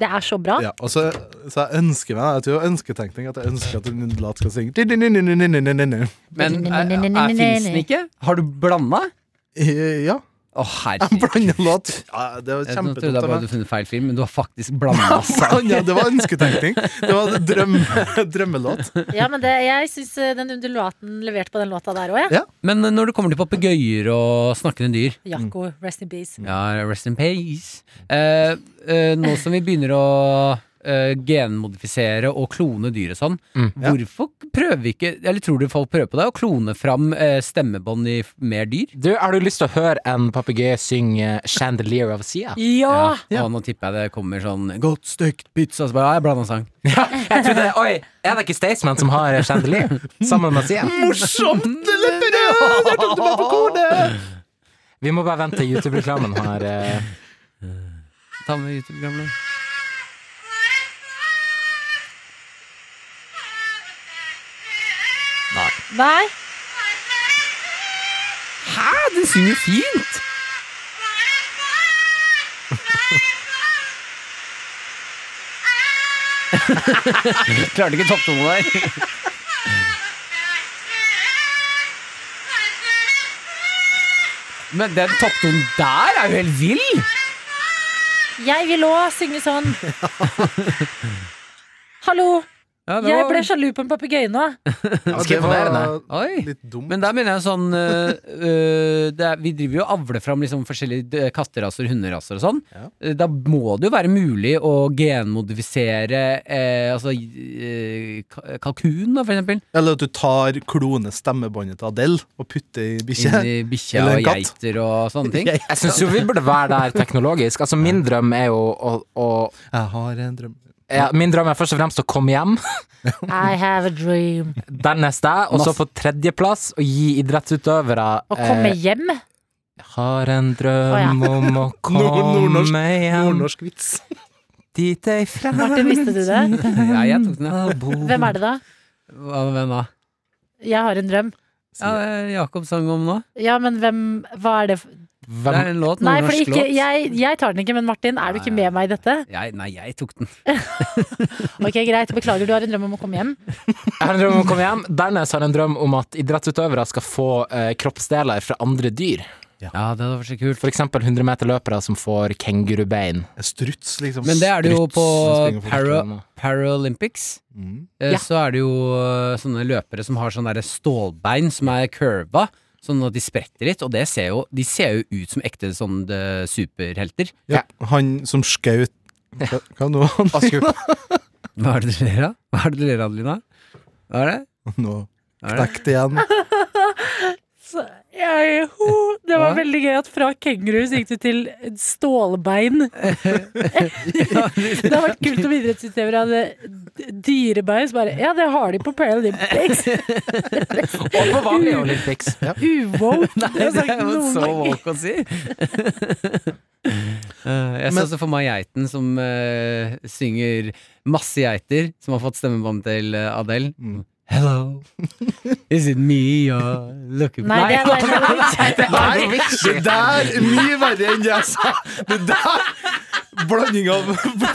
Speaker 4: Det er så bra.
Speaker 6: Ja, og så, så jeg ønsker meg Jeg tror det er ønsketenkning at jeg ønsker at en undulat skal synge. Di-di-ni-ni-ni-ni-ni-ni-ni.
Speaker 3: Men eh, er, er, fins den ikke? Har du blanda?
Speaker 6: Eh, Ja.
Speaker 3: Å,
Speaker 6: Jeg
Speaker 3: herregud.
Speaker 6: blanda låt. Ja, det var
Speaker 3: Jeg trodde jeg
Speaker 6: kjempedumt av
Speaker 3: bare du
Speaker 6: meg.
Speaker 3: hadde funnet feil film, men du har faktisk blanda. altså.
Speaker 6: Blanda, det var ønsketenkning. Det var drøm, drømmelåt.
Speaker 4: Ja, men det, jeg syns eh, den undulaten leverte på den låta der òg, jeg.
Speaker 6: Ja.
Speaker 3: *laughs* Men eh, når det kommer til papegøyer og snakkende dyr
Speaker 4: Jaco, rest in peace.
Speaker 3: Ja, rest in peace. Eh, eh, nå som vi begynner å eh, genmodifisere og klone dyr og sånn,
Speaker 6: Ja.
Speaker 3: hvorfor prøver vi ikke, eller tror du folk prøver på det, å klone fram eh, stemmebånd i f- mer dyr?
Speaker 2: Du, har du lyst til å høre en papegøye synge 'Chandelier of Sia'?
Speaker 4: Ja!
Speaker 3: Ja. Og nå tipper jeg det kommer sånn 'godt støkt pizza', så bare ja, jeg blanda sang.
Speaker 2: *laughs* Ja, jeg trodde, oi, er det ikke Staysman som har eh, chandelier? Sammen med Sia?
Speaker 6: Morsomt! eller? Jeg tok det bare på kornet!
Speaker 2: Vi må bare vente til YouTube-reklamen har eh,
Speaker 3: Ta med YouTube-programmet. Hæ,
Speaker 4: Nei,
Speaker 6: Ah,
Speaker 3: den synger fint! *laughs* Klarte ikke topptonen der. Men den topptonen der er jo helt vill!
Speaker 4: jeg vil òg synge sånn. Hallo,
Speaker 3: Ja, det
Speaker 4: jeg
Speaker 3: var-
Speaker 4: ble sjalu på en papegøye nå.
Speaker 6: Ja,
Speaker 2: Ganske
Speaker 6: det var
Speaker 2: imponerende.
Speaker 3: Oi.
Speaker 6: litt dumt.
Speaker 3: Men der mener jeg sånn øh, øh, det er, Vi driver jo og avler fram liksom forskjellige d- katteraser, hunderaser og sånn.
Speaker 6: Ja.
Speaker 3: Eh, Da må det jo være mulig å genmodifisere eh, altså, eh, ka- kalkun, da, for eksempel.
Speaker 6: Eller at du tar klonestemmebåndet til Adele og putter i bikkje.
Speaker 3: Inn i bikkja
Speaker 6: Eller en
Speaker 3: og
Speaker 6: katt.
Speaker 3: geiter og sånne ting.
Speaker 6: *laughs* Jeg
Speaker 2: Jeg syns jo vi burde være der teknologisk. Altså, min drøm er jo å, å
Speaker 6: har en drøm
Speaker 2: ja, Min drøm er først og fremst å komme hjem,
Speaker 4: I have a dream.
Speaker 2: dernest deg, og så på tredjeplass å gi idrettsutøvere eh,
Speaker 4: Å komme hjem?
Speaker 2: Har en drøm om å komme
Speaker 6: Nordnorsk-
Speaker 2: hjem
Speaker 6: Nordnorsk vits.
Speaker 3: *laughs*
Speaker 2: dit ei fremmed
Speaker 4: Martin, visste du det?
Speaker 3: Ja, jeg tok den, ja.
Speaker 6: Ah,
Speaker 4: Hvem er det da?
Speaker 3: Hva hvem da?
Speaker 4: Jeg har en drøm.
Speaker 3: Ja, det er Jakob sang om nå.
Speaker 4: Ja, men hvem Hva er det for
Speaker 3: Det
Speaker 2: Hvem
Speaker 3: er en låt.
Speaker 4: Nei, for
Speaker 3: nordnorsk
Speaker 4: ikke,
Speaker 3: låt.
Speaker 4: jeg, jeg tar den ikke, men Martin, er du ikke med meg i dette?
Speaker 3: Jeg, nei, jeg tok den.
Speaker 4: Ok, greit, beklager, du har en drøm om å komme hjem.
Speaker 2: Jeg har en drøm om å komme hjem. Dernest har jeg en drøm om at idrettsutøvere skal få eh, kroppsdeler fra andre dyr.
Speaker 3: Ja, det var så kult.
Speaker 2: For eksempel 100-meterløpere som får kengurubein.
Speaker 6: Struts, liksom.
Speaker 3: Men det er det jo
Speaker 6: Struts
Speaker 3: på
Speaker 6: som springer for
Speaker 3: para,
Speaker 6: fortene.
Speaker 3: Paralympics.
Speaker 6: Mm.
Speaker 3: Eh,
Speaker 2: Ja.
Speaker 3: så er det jo eh, sånne løpere som har sånne der stålbein som er curva, sånn at de spretter litt, og det ser jo, de ser jo ut som ekte sånn eh, superhelter.
Speaker 6: Ja, han som skjøt Hva hva nå? Han-
Speaker 2: Asker,
Speaker 3: Hva er det du ler av? Hva er det du ler av, Adelina? Hva er det?
Speaker 6: *laughs* Nå
Speaker 3: Hva er det?
Speaker 6: knekk det igjen.
Speaker 4: Jeg, ho, det
Speaker 3: var
Speaker 4: var
Speaker 3: Hva?
Speaker 4: veldig gøy at fra kenguru så gikk du til stålbein. Det hadde vært kult om idrettsutøvere hadde dyrebein. Så bare, ja, det har de på Paralympics.
Speaker 2: og på vanlige Olympics.
Speaker 4: Uwoke.
Speaker 3: *laughs* Nei, det er jo så woke å *laughs* si! Eh, jeg ser også for meg geiten som eh, synger masse geiter, som har fått stemmebånd til eh, Adele.
Speaker 6: Mm.
Speaker 3: Hello, is it me you're looking
Speaker 4: Nei, det er
Speaker 3: Nei,
Speaker 4: nei,
Speaker 3: det er
Speaker 6: Det der er mye verre enn jeg sa! Det der blanding av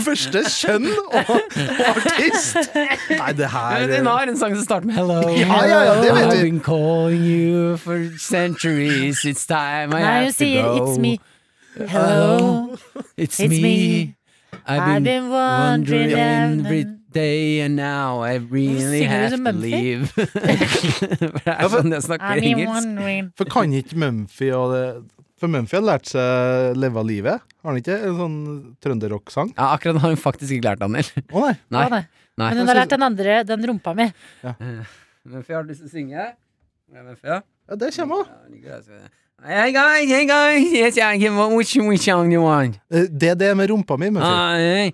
Speaker 6: første kjønn og, og artist. *laughs* Nei, det her
Speaker 3: Hun har en sang som starter med Hello.
Speaker 6: Ja, ja, ja, det vet
Speaker 3: I've
Speaker 6: vi.
Speaker 3: been calling you for centuries. It's time I
Speaker 4: Nei,
Speaker 3: have
Speaker 4: hun
Speaker 3: to
Speaker 4: sier
Speaker 3: go.
Speaker 4: 'It's me'. Hello.
Speaker 3: It's,
Speaker 4: It's
Speaker 3: me.
Speaker 4: me.
Speaker 3: I've been wondering
Speaker 4: wondering
Speaker 3: every day, and now I really
Speaker 4: synger du
Speaker 3: have
Speaker 4: som
Speaker 3: to
Speaker 4: Mumphy?
Speaker 3: leave. *laughs* For det er sånn jeg snakker
Speaker 4: I've been
Speaker 3: engelsk.
Speaker 4: wondering
Speaker 6: For kan ikke Mumphy og det For Mumphy har lært seg leve av livet. Har han ikke en sånn trønderrock-sang?
Speaker 3: Ja, akkurat har hun faktisk ikke lært, Daniel.
Speaker 6: Å nei.
Speaker 3: Nei.
Speaker 4: Å, nei.
Speaker 3: nei.
Speaker 4: Men hun har lært den andre, den rumpa mi.
Speaker 3: *laughs* Mumphy har du lyst til å synge. Ja, Mumphy, ja.
Speaker 6: Ja, det kommer hun.
Speaker 3: Ja, hun liker det, så- Hey guys, hey guys, yes, I can want which, which song you want.
Speaker 6: Eh, Det er det med rumpa mi, Mumphy.
Speaker 3: Ah, hey.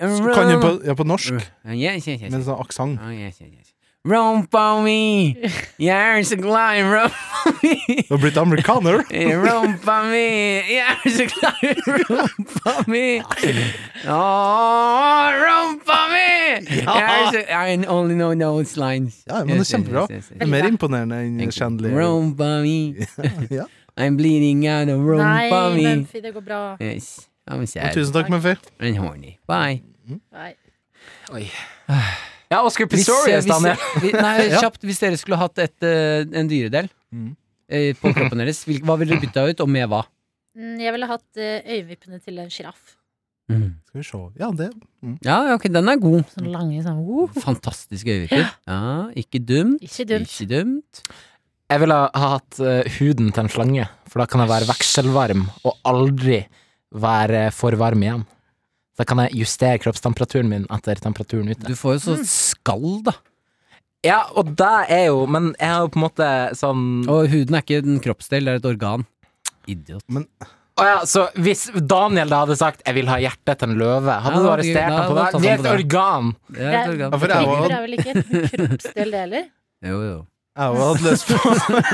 Speaker 3: Ah,
Speaker 6: Kan hun på, ja, på norsk,
Speaker 3: Yes, yes, yes.
Speaker 6: med en sånn aksent.
Speaker 3: Oh, yes, yes, yes. Rumpa mi! *laughs* Jeg er så glad i rumpa mi!
Speaker 6: Du har blitt amerikaner.
Speaker 3: Rumpa mi! Jeg er så glad i rumpa mi! Åh, rumpa mi! Jeg er så I only know those lines.
Speaker 6: Ja, men det er kjempebra. Det er mer imponerende enn Chandler.
Speaker 3: Rumpa mi!
Speaker 6: Ja.
Speaker 3: I'm bleeding out of
Speaker 4: Nei,
Speaker 3: rumpa mi!
Speaker 4: Mumphy, det går bra.
Speaker 3: Yes, I'm sad
Speaker 6: Tusen takk, Mumphy.
Speaker 3: and horny. Bye.
Speaker 4: Nei.
Speaker 2: Ja, Oscar Pistorius, Daniel.
Speaker 3: vi,
Speaker 6: *laughs*
Speaker 3: nei, kjapt, hvis dere skulle hatt et, eh, en dyredel
Speaker 6: Mm.
Speaker 3: eh, på kroppen deres, hvil, hva ville dere bytta ut, og med hva?
Speaker 4: Mm, Jeg ville hatt eh, øyenvippene til en sjiraff.
Speaker 6: Skal vi se. Ja, det
Speaker 3: Ja, ja, ok, den er god.
Speaker 4: Sånn lange sånn uh,
Speaker 3: Fantastisk øyevipper. Ja, ikke dumt.
Speaker 4: Ikke dumt.
Speaker 3: Ikke dumt.
Speaker 2: Jeg ville ha hatt eh, huden til en slange, for da kan jeg være vekselvarm og aldri være for varm igjen. Da kan jeg justere kroppstemperaturen min etter temperaturen ute.
Speaker 3: Du får jo så skall, da.
Speaker 2: Ja, og det er jo Men jeg har jo på en måte sånn Å
Speaker 3: Og huden er ikke en kroppsdel, det er et organ. Idiot.
Speaker 2: ja, så hvis Daniel da hadde sagt 'jeg vil ha hjertet til en løve', hadde
Speaker 3: Ja,
Speaker 2: du
Speaker 3: da hadde jeg-
Speaker 2: arrestert ham på
Speaker 3: da
Speaker 2: det?
Speaker 3: hadde jeg
Speaker 2: Det er et
Speaker 3: tatt ham på
Speaker 2: organ!
Speaker 3: Det er et
Speaker 6: Ja, for
Speaker 3: organ.
Speaker 6: det er jo-
Speaker 4: Kniver er vel ikke en kroppsdel, det heller?
Speaker 3: Jo, jo.
Speaker 6: Jeg òg hadde lyst på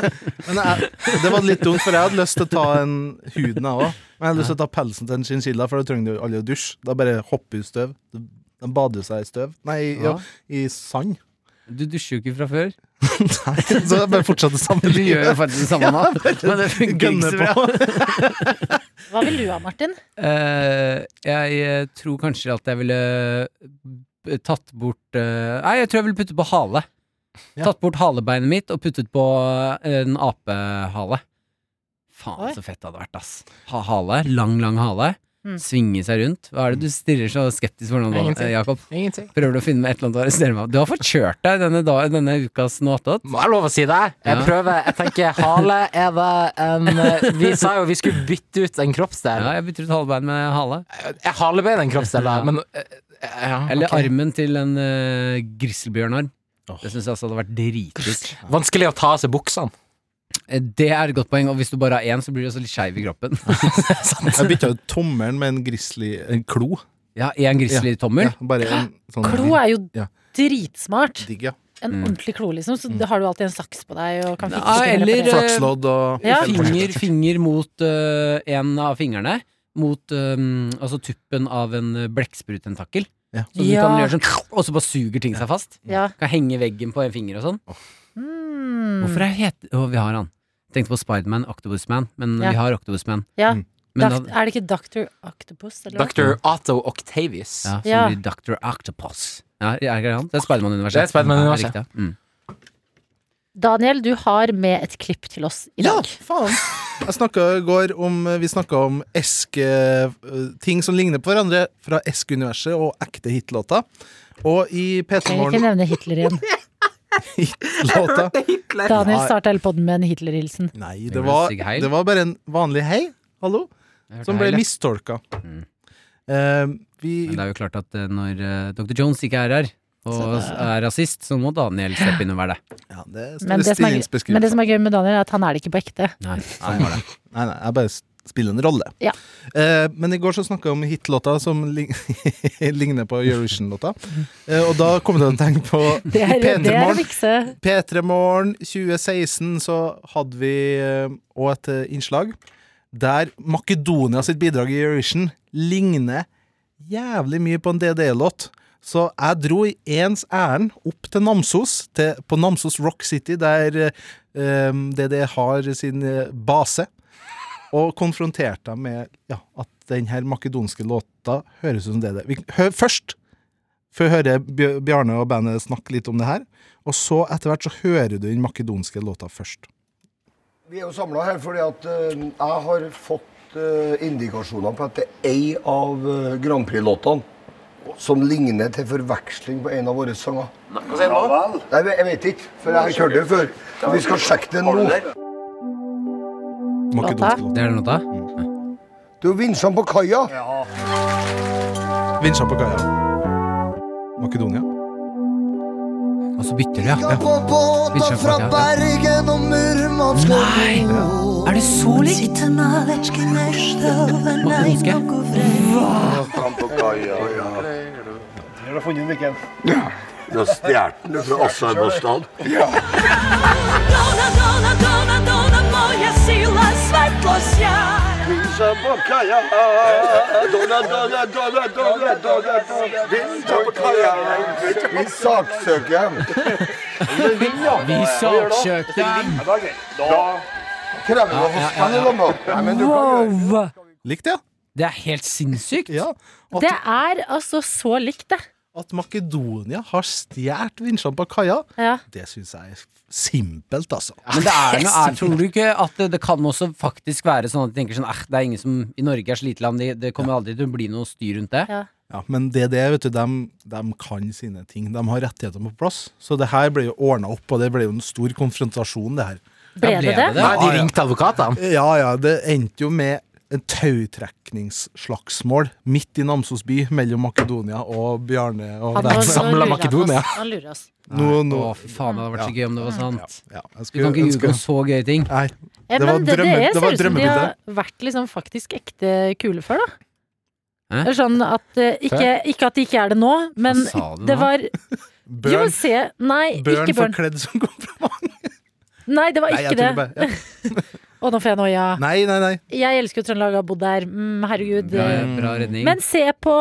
Speaker 6: *laughs* Men jeg, Det var litt dumt, for jeg hadde lyst til å ta en huden, jeg òg. Men jeg hadde lyst til å ta pelsen til en chinchilla, for da trenger du aldri å dusje. Da bare hopper du i støv. Den bader seg i støv. Nei, ja,
Speaker 3: Ja.
Speaker 6: i sand. *laughs*
Speaker 3: Du dusjer jo ikke fra før.
Speaker 6: Så jeg bare fortsatte samme
Speaker 3: Du *laughs* gjør jo
Speaker 6: livet.
Speaker 3: faktisk det samme nå, men det funker ikke så
Speaker 6: Gønner
Speaker 3: bra.
Speaker 6: på.
Speaker 4: Hva vil du ha, Martin?
Speaker 3: Eh, jeg eh, tror kanskje at jeg ville b- tatt bort eh, Nei, jeg tror jeg ville puttet på hale.
Speaker 6: Ja.
Speaker 3: Tatt bort halebeinet mitt og puttet på eh, en apehale. Faen,
Speaker 4: Oi.
Speaker 3: så fett det hadde vært, ass. Ha hale. Lang, lang hale.
Speaker 4: Mm.
Speaker 3: Svinge seg rundt. Hva er det du stirrer så skeptisk for nå, da,
Speaker 2: Ingenting.
Speaker 3: eh, Jakob?
Speaker 2: Ingenting.
Speaker 3: Prøver du å finne meg et eller annet å arrestere meg på? Du har fått kjørt deg denne, dag, denne ukas noe attåt.
Speaker 2: Må jeg lov å si det? Jeg
Speaker 3: Ja.
Speaker 2: prøver. Jeg tenker hale er det en eh, Vi sa jo vi skulle bytte ut en kroppsdel.
Speaker 3: Ja, jeg bytter ut halebeinet med hale.
Speaker 2: Jeg halebein en kroppsdel, da,
Speaker 3: Ja.
Speaker 2: men eh, ja,
Speaker 3: Eller
Speaker 2: ok.
Speaker 3: armen til en uh, grizzlybjørnarm. Det syns jeg altså hadde vært dritkult.
Speaker 2: Vanskelig å ta av seg buksene.
Speaker 3: Eh, Det er et godt poeng, og hvis du bare har én, så blir du også litt skeiv i kroppen.
Speaker 6: *laughs* Jeg bytta ut tommelen med en grizzly En klo.
Speaker 3: Ja, én grizzlytommel.
Speaker 6: Ja, bare en sånn
Speaker 4: Klo er jo
Speaker 6: Ja.
Speaker 4: dritsmart.
Speaker 6: digg, ja.
Speaker 4: En ordentlig klo, liksom. Så da har du alltid en saks på deg og kan fikse
Speaker 3: Ja,
Speaker 4: fingre
Speaker 3: eller, Sånn
Speaker 6: sånn-
Speaker 4: på det.
Speaker 6: Flakslodd og
Speaker 4: Ja.
Speaker 3: Finger, finger mot eh, en av fingrene. Mot eh, altså tuppen av en eh, blekkspruttentakel.
Speaker 6: Ja.
Speaker 3: Så du kan
Speaker 4: Ja.
Speaker 3: gjøre sånn, og så bare suger ting seg fast.
Speaker 4: Ja.
Speaker 3: Kan henge i veggen på en finger og sånn.
Speaker 4: Mm.
Speaker 3: Hvorfor er het... Å, vi har han. Tenkte på Spiderman, Octopusman, men
Speaker 4: Ja.
Speaker 3: vi har Octopusman.
Speaker 4: Ja.
Speaker 3: Men
Speaker 4: Dokt- er det ikke Dr. Octopus? Eller hva?
Speaker 2: Dr. Otto Octavius.
Speaker 3: ja, så
Speaker 4: Ja.
Speaker 3: blir det Dr. Octopus. Ja, er det ikke han? Det er Spiderman-universet.
Speaker 2: Det er Spiderman-universet.
Speaker 3: Ja, riktig, ja. Mm.
Speaker 4: Daniel, du har med et klipp til oss i
Speaker 6: Ja,
Speaker 4: dag.
Speaker 6: faen. Jeg snakket i går om Vi snakka om esk eh, Ting som ligner på hverandre fra Esk-universet og ekte hitlåter. Og i
Speaker 4: Jeg vil
Speaker 6: P3
Speaker 4: ikke
Speaker 6: Morgen
Speaker 4: nevne Hitler igjen.
Speaker 6: Hitlåta
Speaker 4: Daniel starta hele podden med en Hitler-hilsen.
Speaker 6: Nei, det var,
Speaker 3: Sigg heil.
Speaker 6: det var bare en vanlig hei, hallo,
Speaker 3: Jeg hørte
Speaker 6: som ble
Speaker 3: heil, jeg.
Speaker 6: mistolka.
Speaker 3: Mm.
Speaker 6: Eh, vi
Speaker 3: Men det er jo klart at eh, når eh, Dr. Jones ikke er her, og er rasist, så må Daniel steppe inn og være det.
Speaker 6: ja, Det
Speaker 4: Men
Speaker 6: står i
Speaker 4: det, som er, gøy- men det som
Speaker 6: stillingsbeskrivelsen.
Speaker 4: er gøy med Daniel, er at han er det ikke på ekte.
Speaker 3: Nei,
Speaker 6: Nei, nei, nei, nei, jeg bare s- spiller en rolle.
Speaker 4: Ja.
Speaker 6: Eh, men i går så snakka jeg om hitlåta som lig *laughs* ligner på Eurovision-låta. Eh, og da kom det en tenke på
Speaker 4: Det er,
Speaker 6: P3
Speaker 4: det er å
Speaker 6: Morgen.
Speaker 4: fikse.
Speaker 6: P3 Morgen 2016 så hadde vi òg et eh, innslag der Makedonia sitt bidrag i Eurovision ligner jævlig mye på en DDE-låt. Så jeg dro i ens ærend opp til Namsos, til, på E Namsos Rock City, der eh, DDE har sin eh, base. og konfronterte dem med ja, at den her makedonske låta høres ut som det det Vi hø- Først får høre Bj- Bjarne og bandet snakke litt om det her, og så etter hvert så hører du den makedonske låta først.
Speaker 8: Vi er jo samla her fordi at eh, jeg har fått eh, indikasjoner på at det er ei av eh, Grand Prix-låtene som ligner til forveksling på en av våre sanger. Nei, men jeg vet ikke, for jeg har ikke hørt det før. Men Vi skal sjekke det nå.
Speaker 6: Makedonske låta.
Speaker 3: Det er den låta?
Speaker 8: Du vinsja på kaia.
Speaker 6: Vinsja på kaia. Makedonia.
Speaker 3: Og så bytter de, ja.
Speaker 8: på
Speaker 3: Vinsja på
Speaker 8: båter
Speaker 3: kaia, ja.
Speaker 8: Bergen og Murmansk
Speaker 3: Nei! Er det så likt? Makedonske?
Speaker 9: Da stjal den du fra Aserbajdsjan. Vinsja på kaia. Donna, donna, donna, donna, donna, donna. Vinsja på kaia.
Speaker 8: Vi saksøker.
Speaker 3: Vi saksøkte dem!
Speaker 8: Krever å få spille dem, da. Nei, men du kan gjøre det.
Speaker 4: Wow!
Speaker 6: Likt, ja.
Speaker 3: Det er helt sinnssykt.
Speaker 6: ja. At,
Speaker 4: Det er altså så likt, det.
Speaker 6: at Makedonia har stjålet vinsjene på kaia,
Speaker 4: Ja.
Speaker 6: det syns jeg er simpelt, altså.
Speaker 3: Men det
Speaker 4: *laughs*
Speaker 3: er noe, er, tror du ikke at det, det kan også faktisk være sånn at de tenker sånn "Eh, Det er ingen som i Norge er sliteland, det, det kommer aldri til å bli noe styr rundt det.
Speaker 4: Ja.
Speaker 6: Ja, men det er det, vet du, de, kan sine ting. De har rettigheter på plass. Så det her ble jo ordna opp, og det ble jo en stor konfrontasjon, det her.
Speaker 4: Ble
Speaker 3: Ja,
Speaker 4: det det?
Speaker 2: Nei, de ringte advokatene.
Speaker 6: Ja ja, det endte jo med en tautrekningsslagsmål midt i Namsos by mellom Makedonia og Bjarne og
Speaker 4: Nå-
Speaker 6: dem.
Speaker 4: nå
Speaker 2: samlet
Speaker 4: lurer han oss.
Speaker 2: Makedonia.
Speaker 4: Han lurer oss.
Speaker 6: Nå, nå.
Speaker 3: Å, fy faen, det hadde vært så gøy om det var sant.
Speaker 6: Ja, jeg
Speaker 3: Du kan
Speaker 6: skulle
Speaker 3: ikke ljuge
Speaker 6: ønske
Speaker 3: om så gøye ting.
Speaker 6: Nei,
Speaker 4: Ja,
Speaker 6: Det var
Speaker 4: men det,
Speaker 6: drømme-
Speaker 4: dere
Speaker 6: det
Speaker 4: ser ut
Speaker 6: var
Speaker 4: som de
Speaker 6: drømmebildet.
Speaker 4: har vært liksom faktisk ekte kule før, da.
Speaker 3: Hæ?
Speaker 4: Eller Sånn at eh, ikke, ikke at de ikke er det nå, men
Speaker 3: Hva sa du
Speaker 4: det
Speaker 3: nå?
Speaker 4: var Jo,
Speaker 6: Børn,
Speaker 4: se Nei,
Speaker 6: børn
Speaker 4: ikke børn.
Speaker 6: forkledd som kompliment.
Speaker 4: Nei, det var
Speaker 6: Nei,
Speaker 4: ikke
Speaker 6: jeg
Speaker 4: det.
Speaker 6: tuller bare. Ja.
Speaker 4: Å, nå får jeg noia.
Speaker 6: Nei, nei, nei.
Speaker 4: Jeg elsker jo Trøndelag og har bodd der. Mm, herregud.
Speaker 3: Bra,
Speaker 4: eh,
Speaker 3: bra redning.
Speaker 4: Men se på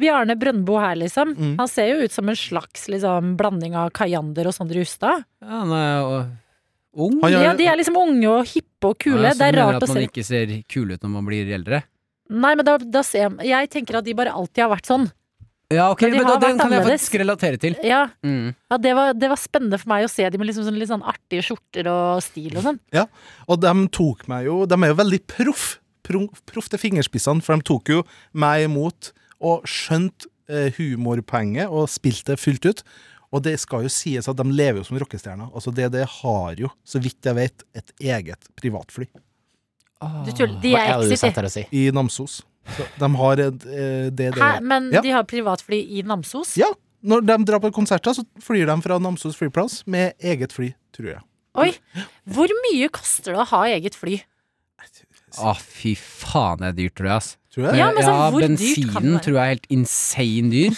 Speaker 4: Bjarne Brøndbo her, liksom.
Speaker 3: Mm.
Speaker 4: Han ser jo ut som en slags liksom, blanding av Kajander og Sondre Justad.
Speaker 3: Ja, han er jo ung.
Speaker 6: Han
Speaker 4: Ja,
Speaker 6: gjør
Speaker 4: de er liksom unge og hippe og kule.
Speaker 3: Ja, så
Speaker 4: det er
Speaker 3: mener
Speaker 4: rart
Speaker 3: at
Speaker 4: å se.
Speaker 3: man ikke ser kul ut når man blir eldre.
Speaker 4: Nei, men da, da ser jeg Jeg tenker at de bare alltid har vært sånn.
Speaker 3: Ja, ok,
Speaker 4: Men de
Speaker 3: men da,
Speaker 4: har
Speaker 3: Den
Speaker 4: vært
Speaker 3: kan jeg
Speaker 4: annerledes.
Speaker 3: faktisk relatere til.
Speaker 4: Ja,
Speaker 3: Mm.
Speaker 4: ja det, var, det var spennende for meg å se de med liksom sånn, litt sånn artige skjorter og stil og sånn.
Speaker 6: Ja, og de tok meg jo De er jo veldig proff. pro- Proff til fingerspissene, for de tok jo meg imot og skjønte eh, humorpoenget og spilte det fullt ut. Og det skal jo sies at de lever jo som rockestjerner. Altså DDE har jo, så vidt jeg vet, et eget privatfly
Speaker 4: Du tuller. De
Speaker 2: Hva
Speaker 4: er
Speaker 2: er det du
Speaker 4: Exit,
Speaker 2: satt
Speaker 4: de.
Speaker 2: her og si?
Speaker 6: i Namsos. Så de har et eh, DDE
Speaker 4: Hæ, men
Speaker 6: Ja.
Speaker 4: de har privatfly i Namsos?
Speaker 6: Ja, når de drar på konserter, så flyr de fra Namsos flyplass med eget fly, tror jeg.
Speaker 4: Oi! Hvor mye koster det å ha eget fly?
Speaker 3: Å, fy faen, det er dyrt, tror jeg. ass.
Speaker 6: Tror jeg.
Speaker 4: Ja, men så hvor dyrt kan det
Speaker 3: bensinen
Speaker 4: være?
Speaker 3: tror jeg er helt insane dyr.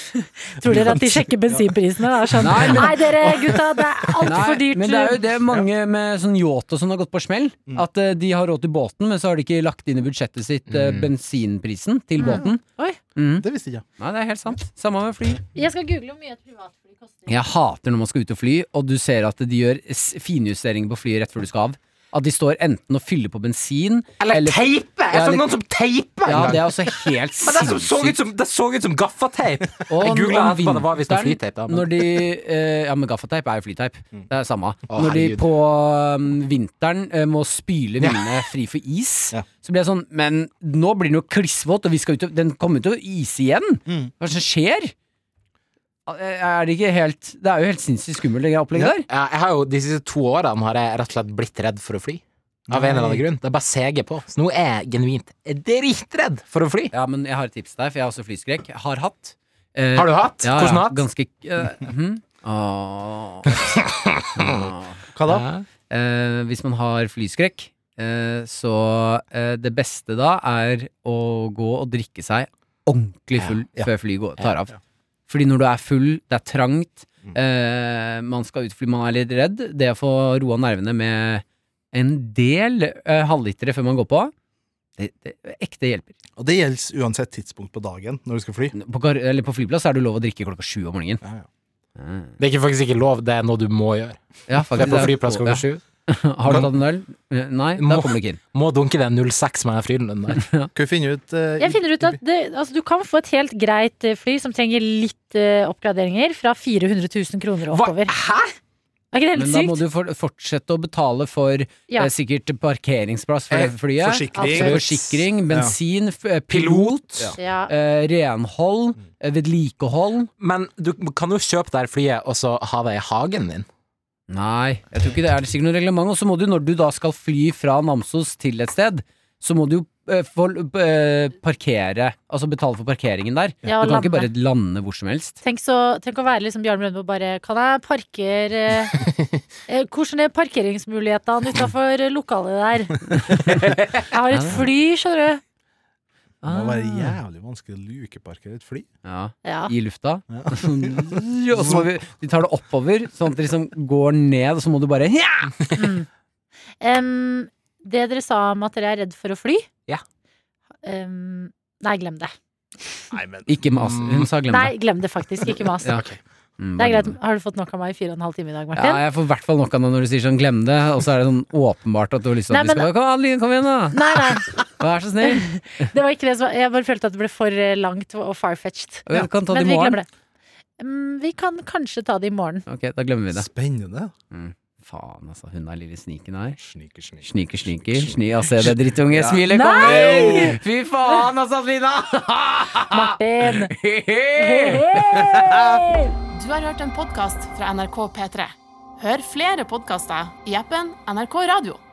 Speaker 4: Tror dere at de sjekker bensinprisene? Det er sånn Nei,
Speaker 3: Nei, men-
Speaker 4: dere gutta, *laughs*
Speaker 3: *laughs*
Speaker 4: det er altfor dyrt.
Speaker 3: men det er jo det mange med sånn yacht og sånn har gått på smell.
Speaker 2: Mm.
Speaker 3: At eh, de har råd til båten, men så har de ikke lagt inn i budsjettet sitt eh,
Speaker 2: Mm.
Speaker 3: bensinprisen
Speaker 4: Mm.
Speaker 3: til båten.
Speaker 4: Oi,
Speaker 6: Det visste ikke jeg.
Speaker 3: Nei, det er helt sant. Samme med fly.
Speaker 4: jeg skal google hvor mye et privatfly koster.
Speaker 3: Jeg hater når man skal ut og fly, og du ser at de gjør s- finjusteringer på flyet rett før du skal av. At de står enten og fyller på bensin
Speaker 2: Eller teipe! Jeg så
Speaker 3: Ja, eller-
Speaker 2: noen som teipa!
Speaker 3: Ja,
Speaker 2: en
Speaker 3: det
Speaker 2: gang.
Speaker 3: er også helt
Speaker 2: *laughs* Men det som så ut
Speaker 3: sinnssykt.
Speaker 2: som, det så ut som gaffateip! Jeg
Speaker 3: Og
Speaker 2: googlet
Speaker 3: om
Speaker 2: etterpå, det var visst noe
Speaker 3: vinteren,
Speaker 2: flyteip, da, men- Mm.
Speaker 3: Når de eh, Ja, men gaffateip er jo flyteip. Det er samme.
Speaker 2: Å,
Speaker 3: når de
Speaker 2: herregud.
Speaker 3: på um, vinteren eh, må spyle vingene fri for is,
Speaker 2: *laughs*
Speaker 6: Ja.
Speaker 3: så blir jeg sånn Men nå blir den jo klissvåt, og vi skal ut og Den kommer jo til å ise igjen!
Speaker 2: Mm.
Speaker 3: Hva er det som skjer? eh, Er det ikke helt Det er jo helt sinnssykt skummelt, det opplegget der.
Speaker 2: Ja, jeg har jo, de siste to årene har jeg rett og slett blitt redd for å fly. Av en eller annen grunn. Det er bare seger på. Så nå er jeg genuint dritredd for å fly.
Speaker 3: Ja, men jeg har et tips der, for jeg har også flyskrekk. Har hatt. Eh,
Speaker 2: Har du hatt?
Speaker 3: Ja,
Speaker 2: Hvordan
Speaker 3: ja,
Speaker 2: hatt?
Speaker 3: Ganske eh, *laughs* hm?
Speaker 2: *laughs*
Speaker 3: Åh. Åh.
Speaker 6: Hva da?
Speaker 2: Ja.
Speaker 3: Eh, hvis man har flyskrekk, eh, så eh, det beste da er å gå og drikke seg ordentlig full
Speaker 6: Ja, Mm. ja.
Speaker 3: før flyet går- tar av. Fordi når du er full, det er trangt, eh, man skal ut fordi man er litt redd. Det å få roa nervene med en del eh, halvlitere før man går på, det, det ekte hjelper.
Speaker 6: Og det gjelder uansett tidspunkt på dagen når du skal fly.
Speaker 3: På, gar- eller på flyplass er det lov å drikke klokka sju om morgenen. Eh,
Speaker 6: Ja, ja.
Speaker 2: Det er ikke, faktisk ikke lov, det er noe du må gjøre. Det
Speaker 3: Ja,
Speaker 2: er
Speaker 3: faktisk,
Speaker 2: på flyplass
Speaker 3: ja.
Speaker 2: klokka sju.
Speaker 3: *laughs* Har du tatt en øl? Eh, Nei, da
Speaker 2: Må-
Speaker 3: kommer du ikke inn.
Speaker 2: Må dunke den 06 med den Frydenlund der.
Speaker 6: Kan vi finne ut eh,
Speaker 4: Jeg finner ut at det, altså, du kan få et helt greit eh, fly som trenger litt eh, oppgraderinger, fra 400 000 kroner og
Speaker 2: Hva?
Speaker 4: oppover. Hæ? Er ikke det
Speaker 3: Men
Speaker 4: helt
Speaker 3: da må
Speaker 4: sykt?
Speaker 3: du for, fortsette å betale for
Speaker 4: Ja.
Speaker 3: eh, sikkert parkeringsplass for
Speaker 6: Eh,
Speaker 3: det flyet.
Speaker 6: forsikring.
Speaker 3: Absolutt. Forsikring, bensin, f- eh, pilot,
Speaker 4: Ja.
Speaker 3: eh, renhold,
Speaker 6: Mm.
Speaker 3: eh, vedlikehold.
Speaker 2: Men du kan jo kjøpe det her flyet og så ha det i hagen din.
Speaker 3: Nei, jeg tror ikke det er det er sikkert noe reglement. Og så må du, når du da skal fly fra Namsos til et sted, så må du jo eh, få, eh, parkere, altså betale for parkeringen der.
Speaker 4: Ja,
Speaker 3: du kan ikke bare
Speaker 4: lande.
Speaker 3: lande hvor som helst.
Speaker 4: Tenk, så, tenk å være liksom Bjarne Brøndbo bare Kan jeg parkere eh, eh, Hvordan er parkeringsmulighetene utafor lokalet der? Jeg har et fly, skjønner du.
Speaker 6: Det må være
Speaker 3: Ah.
Speaker 6: jævlig vanskelig å lukeparkere et fly.
Speaker 3: Ja,
Speaker 4: Ja.
Speaker 3: i lufta. *laughs* og så må vi, vi tar det oppover, sånn at det liksom går ned, og så må du bare ja!
Speaker 4: Mm. Em, det dere sa om at dere er redd for å fly
Speaker 2: Ja.
Speaker 4: Em, nei, glem det.
Speaker 3: Ikke mas. Hun sa glem det.
Speaker 4: Nei, glem det faktisk. Ikke mas.
Speaker 3: Ja, ok. Mm,
Speaker 4: Det
Speaker 3: bare
Speaker 4: er greit.
Speaker 3: glem det.
Speaker 4: Har du fått nok av meg i fire og en halv time i dag,
Speaker 3: Ja,
Speaker 4: Martin?
Speaker 3: jeg får i hvert fall nok av det når du sier sånn 'glem det', og så er det sånn åpenbart at du har lyst til at
Speaker 4: Nei,
Speaker 3: vi skal
Speaker 4: men-
Speaker 3: Kom, Adeline, kom igjen, da!
Speaker 4: Nei, nei.
Speaker 3: Vær så
Speaker 4: *laughs*
Speaker 3: snill!
Speaker 4: Det var ikke det som var Jeg bare følte at det ble for eh, langt og far-fetched.
Speaker 3: Vi kan ta det i
Speaker 4: Men vi
Speaker 3: morgen.
Speaker 4: glemmer det. Mm, vi kan kanskje ta det i morgen.
Speaker 3: Ok, da glemmer vi det.
Speaker 6: Spennende.
Speaker 3: Faen, altså. Hun er lille sniken her.
Speaker 6: Sniker, sniker.
Speaker 3: Sniker, sniker. Sni, altså, det drittunge smilet
Speaker 4: Nei!
Speaker 3: kommer! Fy faen, altså, *laughs* Adelina!
Speaker 4: Martin!
Speaker 3: *laughs*
Speaker 4: Hey!
Speaker 1: Du har hørt en podkast fra NRK P3. Hør flere podkaster i appen NRK Radio.